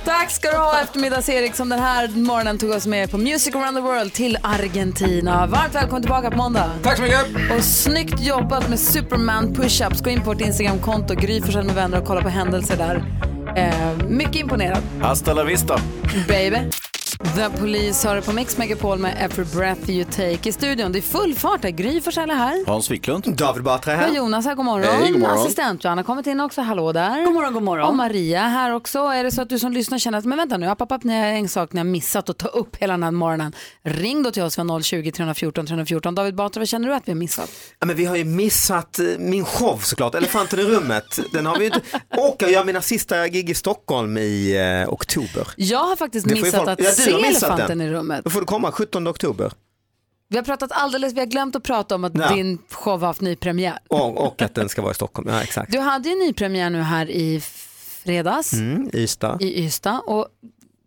Tack ska du ha eftermiddags-Erik som den här morgonen tog oss med på Music around the world till Argentina. Varmt välkommen tillbaka på måndag.
Tack så mycket.
Och snyggt jobbat med Superman pushups. Gå in på vårt Instagramkonto, Gry Forssell med vänner och kolla på händelser där. Eh, mycket imponerad.
Hasta la vista.
Baby. The Police har det på Mix Megapol med Every Breath You Take i studion. Det är full fart här. Gry Forssell är här.
Hans Wiklund.
David Batra
Och Jonas här, god morgon.
Hej, god morgon.
Assistent Johanna har kommit in också, hallå där. God morgon, god morgon. Och Maria här också. Är det så att du som lyssnar känner att, men vänta nu, app, app, app, ni har en sak ni har missat att ta upp hela den här morgonen. Ring då till oss vid 020 314 314. David Batra, vad känner du att vi har missat?
Ja, men vi har ju missat eh, min show såklart, Elefanten i rummet. Den har vi ju inte... Och jag gör mina sista gig i Stockholm i eh, oktober.
Jag har faktiskt
Det får ju
missat
folk-
att se
Ja, du har missat
elefanten
den.
i rummet.
Då får du komma 17 oktober.
Vi har pratat alldeles, vi har glömt att prata om att
Ja.
din show har haft ny premiär.
Och, och att den ska vara i Stockholm, ja exakt.
Du hade ju ny premiär nu här i fredags.
Mm, Ystad.
i Ystad. Och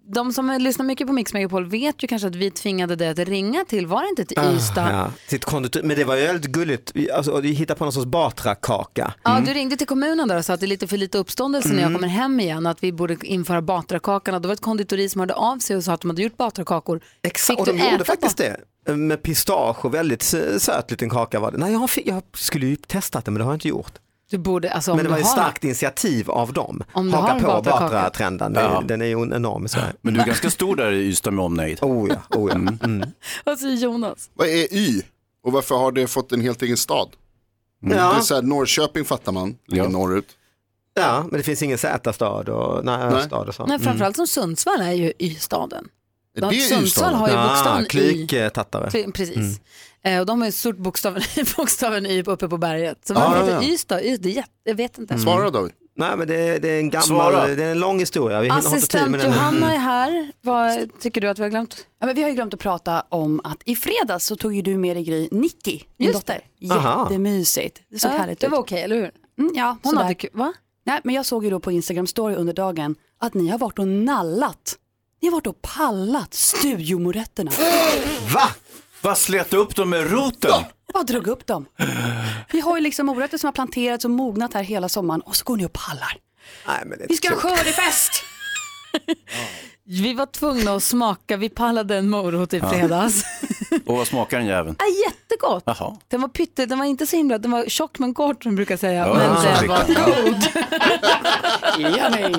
de som lyssnar mycket på Mix Megapol vet ju kanske att vi tvingade dig att ringa till, var det inte till Ystad?
Ah, ja. till ett konditori- Men det var ju väldigt gulligt, Vi- alltså, och vi hittade på någon sorts Batra-kaka.
Ja, du ringde till kommunen där och sa att det är lite för lite uppståndelse när jag
Mm.
kommer hem igen, att vi borde införa batrakakorna. Det var ett konditori som hörde av sig och sa att de hade gjort batrakakor. Exakt,
Och de gjorde faktiskt det. Med pistage och väldigt sö- söt liten kaka var det. Nej, jag, fick, jag skulle ju testat det men det har jag inte gjort.
Du borde, alltså om
men det
du
var ju ett
har
starkt initiativ av dem.
Om du har en
Haka på
Batra-kaka.
Batra-trenden, Det-
Ja.
den är ju enorm i Sverige.
Men du är ganska stor där i Ystad med omnejd. Mm.
Oh ja, oh ja.
Vad säger Jonas?
Vad är Y? Och varför har det fått en helt egen stad?
Mm. Ja.
Det är så här, Norrköping fattar man, ligger norrut.
Ja, men det finns ingen Z-stad och nej, Ö-stad och sånt.
Nej, framförallt
Mm.
som Sundsvall är ju Y-staden.
Mm.
De- Sundsvall har ju bokstaven
ah, Mm.
Y.
Klyk-tattare.
Kli- precis. Eh, och de har ju stort [laughs] bokstaven, bokstaven Y uppe på berget. Så
Ja,
varför
ja,
heter
ja.
Ystad? Ystad? Det är jätte- Jag vet inte.
Svara David.
Mm. Nej men det, det är en gammal,
Svara.
det är en lång historia. Vi hinner- har inte tid med
Assistent
den. Mm.
Johanna är här. Vad tycker du att vi har glömt?
Ja, men vi har ju glömt att prata om att i fredags så tog ju du med dig Gry, Nicky, din
Just
dotter.
det. Aha.
Jättemysigt. Det såg
Ja,
härligt
det
ut.
var okej, eller hur?
Mm, ja,
Hon
sådär.
hade kul, va?
Nej, men jag såg ju då på Instagram story under dagen att ni har varit och nallat. Ni har varit och pallat studiomorötterna.
Va? Vad slet upp dem med roten?
Bara drog upp dem. Vi har ju liksom morötter som har planterats och mognat här hela sommaren och så går ni och pallar.
Nej, men det är
Vi ska ha
klokt.
skördefest!
[laughs] Vi var tvungna att smaka, vi pallade en morot i
Ja.
[laughs]
fredags.
Och vad smakar den jäveln?
Ja. jättegott!
Jaha.
Den var pytte, den var inte så himla, den var tjock men kort som brukar säga.
Ja,
men
ja,
den
så
var
fick den.
god.
[laughs]
Yummy.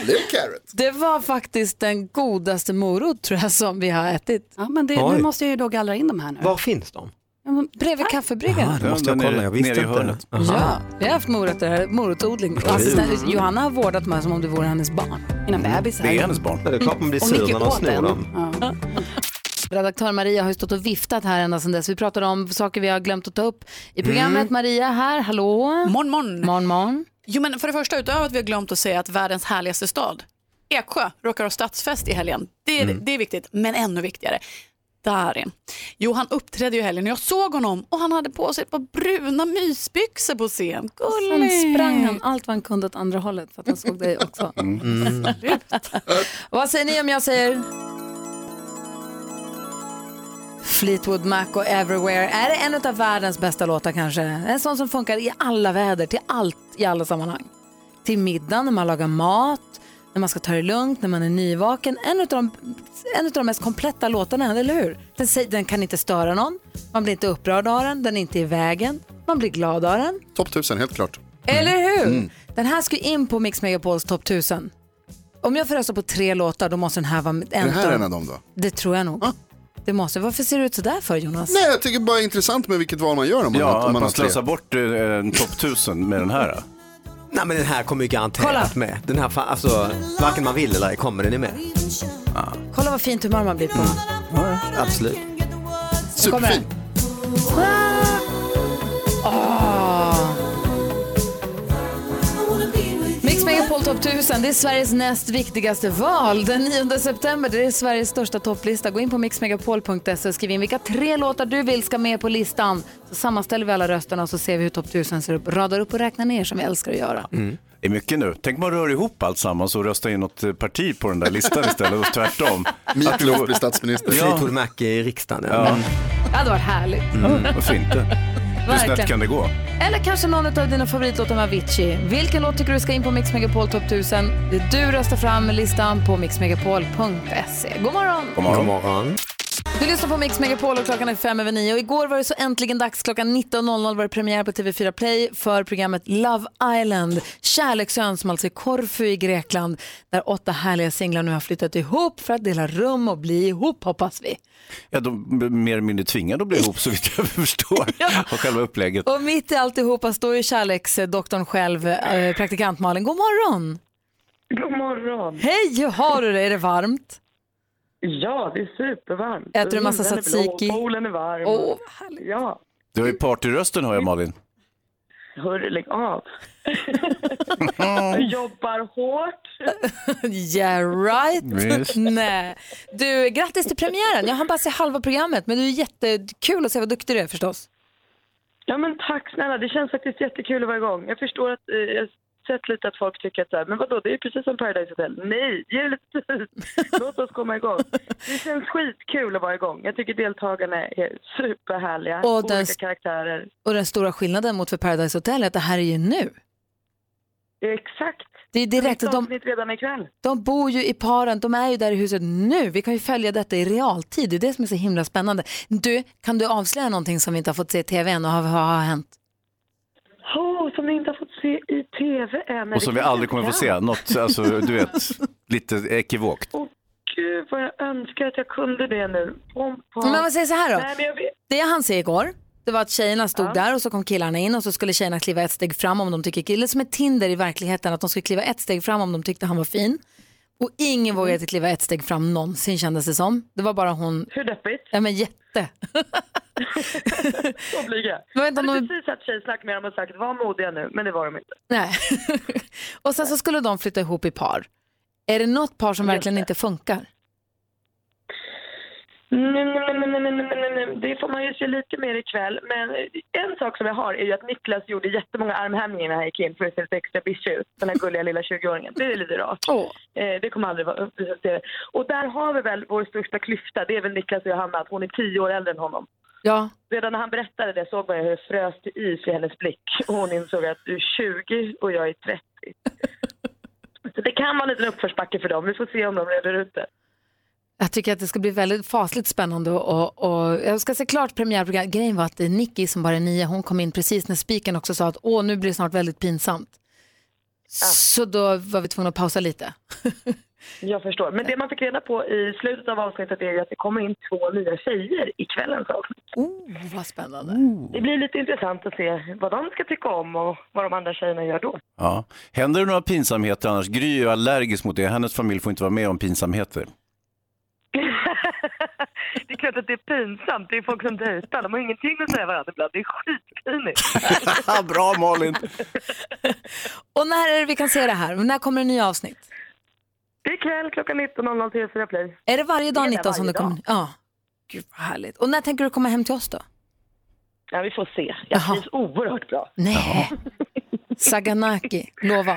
Little carrot.
Det var faktiskt den godaste morot tror jag som vi har ätit.
Ja, men det,
Oj.
nu måste jag ju då gallra in de här nu.
Var finns de?
Ja, men Bredvid kaffebryggaren.
Ah, det måste jag kolla, jag visste
nere i
inte.
hörnet.
Aha.
Ja, vi har haft morötter här, morotodling.
Kul.
Assistent- Johanna har vårdat mig som om det vore hennes barn. Mina bebisar.
Ja, det är klart man blir
Och
sur
Nicke
när någon
åt
snor
den.
dem.
Redaktör Maria har ju stått och viftat här ända sedan dess. Vi pratade om saker vi har glömt att ta upp i programmet.
Mm.
Maria här, hallå?
Morgon, morgon.
morgon, morgon.
Jo, men för det första, utöver att vi har glömt att säga att världens härligaste stad, Eksjö, råkar ha stadsfest i helgen. Det är,
Mm.
det är viktigt, men ännu viktigare. Darin. Jo, han uppträdde ju i helgen och jag såg honom och han hade på sig ett par bruna mysbyxor på scen.
Sen
Gulligt!
sprang han allt vad han kunde åt andra hållet för att han såg dig också. Vad säger ni om jag säger? Fleetwood Mac och Everywhere. Är det en av världens bästa låtar kanske? En sån som funkar i alla väder, till allt, i alla sammanhang. Till middagen, när man lagar mat, när man ska ta det lugnt, när man är nyvaken. En av de, en utav de mest kompletta låtarna, eller hur? Den, säger- den kan inte störa någon, man blir inte upprörd av den, den är inte i vägen, man blir glad av den.
Topp 1000, helt klart.
Eller hur?
Mm.
Den här ska ju in på Mix Megapols topp 1000. Om jag får rösta på tre låtar då måste den här vara en
Är det här
utav-
en av dem då?
Det tror jag nog. Det måste. Varför ser det ut sådär för Jonas?
Nej, jag tycker bara det är intressant med vilket val man gör om man,
Ja,
har- om
att
man
man
har tre.
slösar bort eh, en topp 1000 med den här.
Nej men den här kommer ju garanterat
Kolla.
med. Den här, fan- alltså, varken man vill eller ej kommer den ju med.
Kolla vad fint humör man blir
Mm.
på.
Absolut.
Så kommer den. Åh. Mix Megapol topp 1000, det är Sveriges näst viktigaste val. Den 9 september, det är Sveriges största topplista. Gå in på mixmegapol.se och skriv in vilka tre låtar du vill ska med på listan. Så sammanställer vi alla rösterna och så ser vi hur topp 1000 ser upp. Radar upp och räknar ner som vi älskar att göra.
Mm.
Det är mycket nu. Tänk man rör ihop allt sammans och röstar in något eh, parti på den där listan istället och tvärtom.
Meatloaf blir statsminister.
Fleetwood Mac i riksdagen.
Ja.
Det hade varit härligt.
Mm, varför inte? Hur
Verkligen.
snett kan det gå?
Eller kanske någon av dina favoritlåtar med Avicii. Vilken låt tycker du ska in på Mix Megapol topp 1000? Du röstar fram listan på mixmegapol.se. God morgon!
God morgon. God morgon.
Du lyssnar på Mix Megapol och klockan är fem över nio. Och igår var det så äntligen dags. Klockan 19.00 var det premiär på TV4 Play för programmet Love Island, Kärleksön som alltså är Korfu i Grekland, där åtta härliga singlar nu har flyttat ihop för att dela rum och bli ihop hoppas vi.
Ja, de blir mer eller mindre tvingade att bli ihop så vitt jag förstår av själva upplägget.
Och mitt i alltihopa står ju kärleksdoktorn själv, eh, praktikant Malin. God morgon!
God morgon.
Hej, hur har du det? Är det varmt?
Ja, det är supervarmt.
Äter du massa
Himlen är blå,
tzatziki?
Poolen är varm.
Åh,
ja,
Du har ju partyrösten hör jag Malin.
hörru,
[laughs]
lägg av. Jag jobbar hårt.
[laughs] Yeah right. [laughs]
Visst.
Nej. Du, grattis till premiären. Jag har bara sett halva programmet, men det är jättekul att se vad duktig du är förstås.
Ja, men tack snälla. Det känns faktiskt jättekul att vara igång. Jag förstår att eh, jag har sett lite att folk tycker att så här, men vadå, det är ju precis som Paradise Hotel. Nej, ge det lite tid.
[laughs]
Låt oss komma igång. Det känns skitkul att vara igång. Jag tycker deltagarna är superhärliga.
Och
Olika
den-
karaktärer.
Och den stora skillnaden mot för Paradise Hotel är att det här är ju nu.
Exakt.
Det är direkt att
Ett
de,
avsnitt redan ikväll.
de bor ju i paren, de är ju där i huset nu. Vi kan ju följa detta i realtid, det är det som är så himla spännande. Du, kan du avslöja någonting som vi inte har fått se i tv än och har, har, har hänt?
Oh, som ni inte har fått se i tv än.
Och som vi aldrig kommer få se. Något, alltså, du vet, lite ekivokt.
Gud vad jag önskar att jag kunde det nu. Pom, pom.
Men vad säger så här då?
Nej, men jag vet.
Det jag hann se igår, det var att tjejerna stod där och så kom killarna in och så skulle tjejerna kliva ett steg fram om de tycker killen som är Tinder i verkligheten, att de skulle kliva ett steg fram om de tyckte han var fin. Och ingen vågade kliva ett steg fram någonsin kändes det som. Det var bara hon.
Hur deppigt?
Ja men jätte. [laughs]
Så blyga.
Jag vet inte om
hade
de-
precis haft tjejsnack med dem och sagt var modiga nu, men det var de inte.
Nej. [laughs] och sen så skulle de flytta ihop i par. Är det något par som verkligen inte funkar?
Nej, nej, nej, nej, nej, nej, nej, nej. Det får man ju se lite mer ikväll. Men en sak som jag har är ju att Niklas gjorde jättemånga armhävningar när han gick in för att se lite extra bitchig ut. Den här gulliga lilla 20-åringen. Det är lite rart. Eh, det kommer aldrig vara det. Och där har vi väl vår största klyfta. Det är väl Niklas och Johanna, att hon är 10 år äldre än honom.
Ja.
Redan när han berättade det såg man ju hur det frös till is i hennes blick. Och hon insåg att du är 20 och jag är 30. Så det kan vara en liten uppförsbacke för dem. Vi får se om de reder ut det.
Jag tycker att det ska bli väldigt fasligt spännande och, och jag ska se klart premiärprogrammet. Grejen var att det är Nicky som bara är nio, hon kom in precis när spiken också sa att åh, nu blir det snart väldigt pinsamt. Så då var vi tvungna att pausa lite.
Jag förstår. Men det man fick reda på i slutet av avsnittet är ju att det kommer in två nya tjejer i kvällens avsnitt.
Oh, vad spännande.
Det blir lite intressant att se vad de ska tycka om och vad de andra tjejerna gör då. [laughs]
Ja. Händer det några pinsamheter annars? Gry är ju allergisk mot det. Hennes familj får inte vara med om pinsamheter.
Det är klart att det är pinsamt. Det är folk som dejtar. De har ingenting att säga varandra ibland. Det är skitpinigt.
[laughs] Bra Malin!
Och när är det vi kan se det här? När kommer det nya avsnitt?
Det är kväll klockan 19.00 till 4 Play.
Är det varje dag
Det är
19 som det
varje
kommer?
dag.
Ja. Gud vad härligt. Och när tänker du komma hem till oss då?
Ja, vi får se. Jag trivs oerhört bra.
Nej. Saganaki, lova.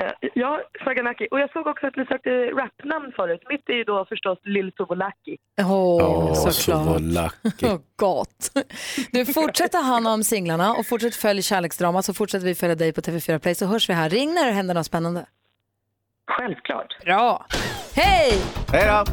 Eh, Ja, Saganaki. Och jag såg också att ni sökte rapnamn förut. Mitt är ju då förstås Lill Sobolaki.
Åh, såklart.
Sovolaki.
Oh, gott. Du, fortsätt ta hand om singlarna och fortsätt följa kärleksdrama så fortsätter vi följa dig på TV4 Play så hörs vi här. Ring när det händer något spännande.
Självklart.
Bra. Hej!
Hej då!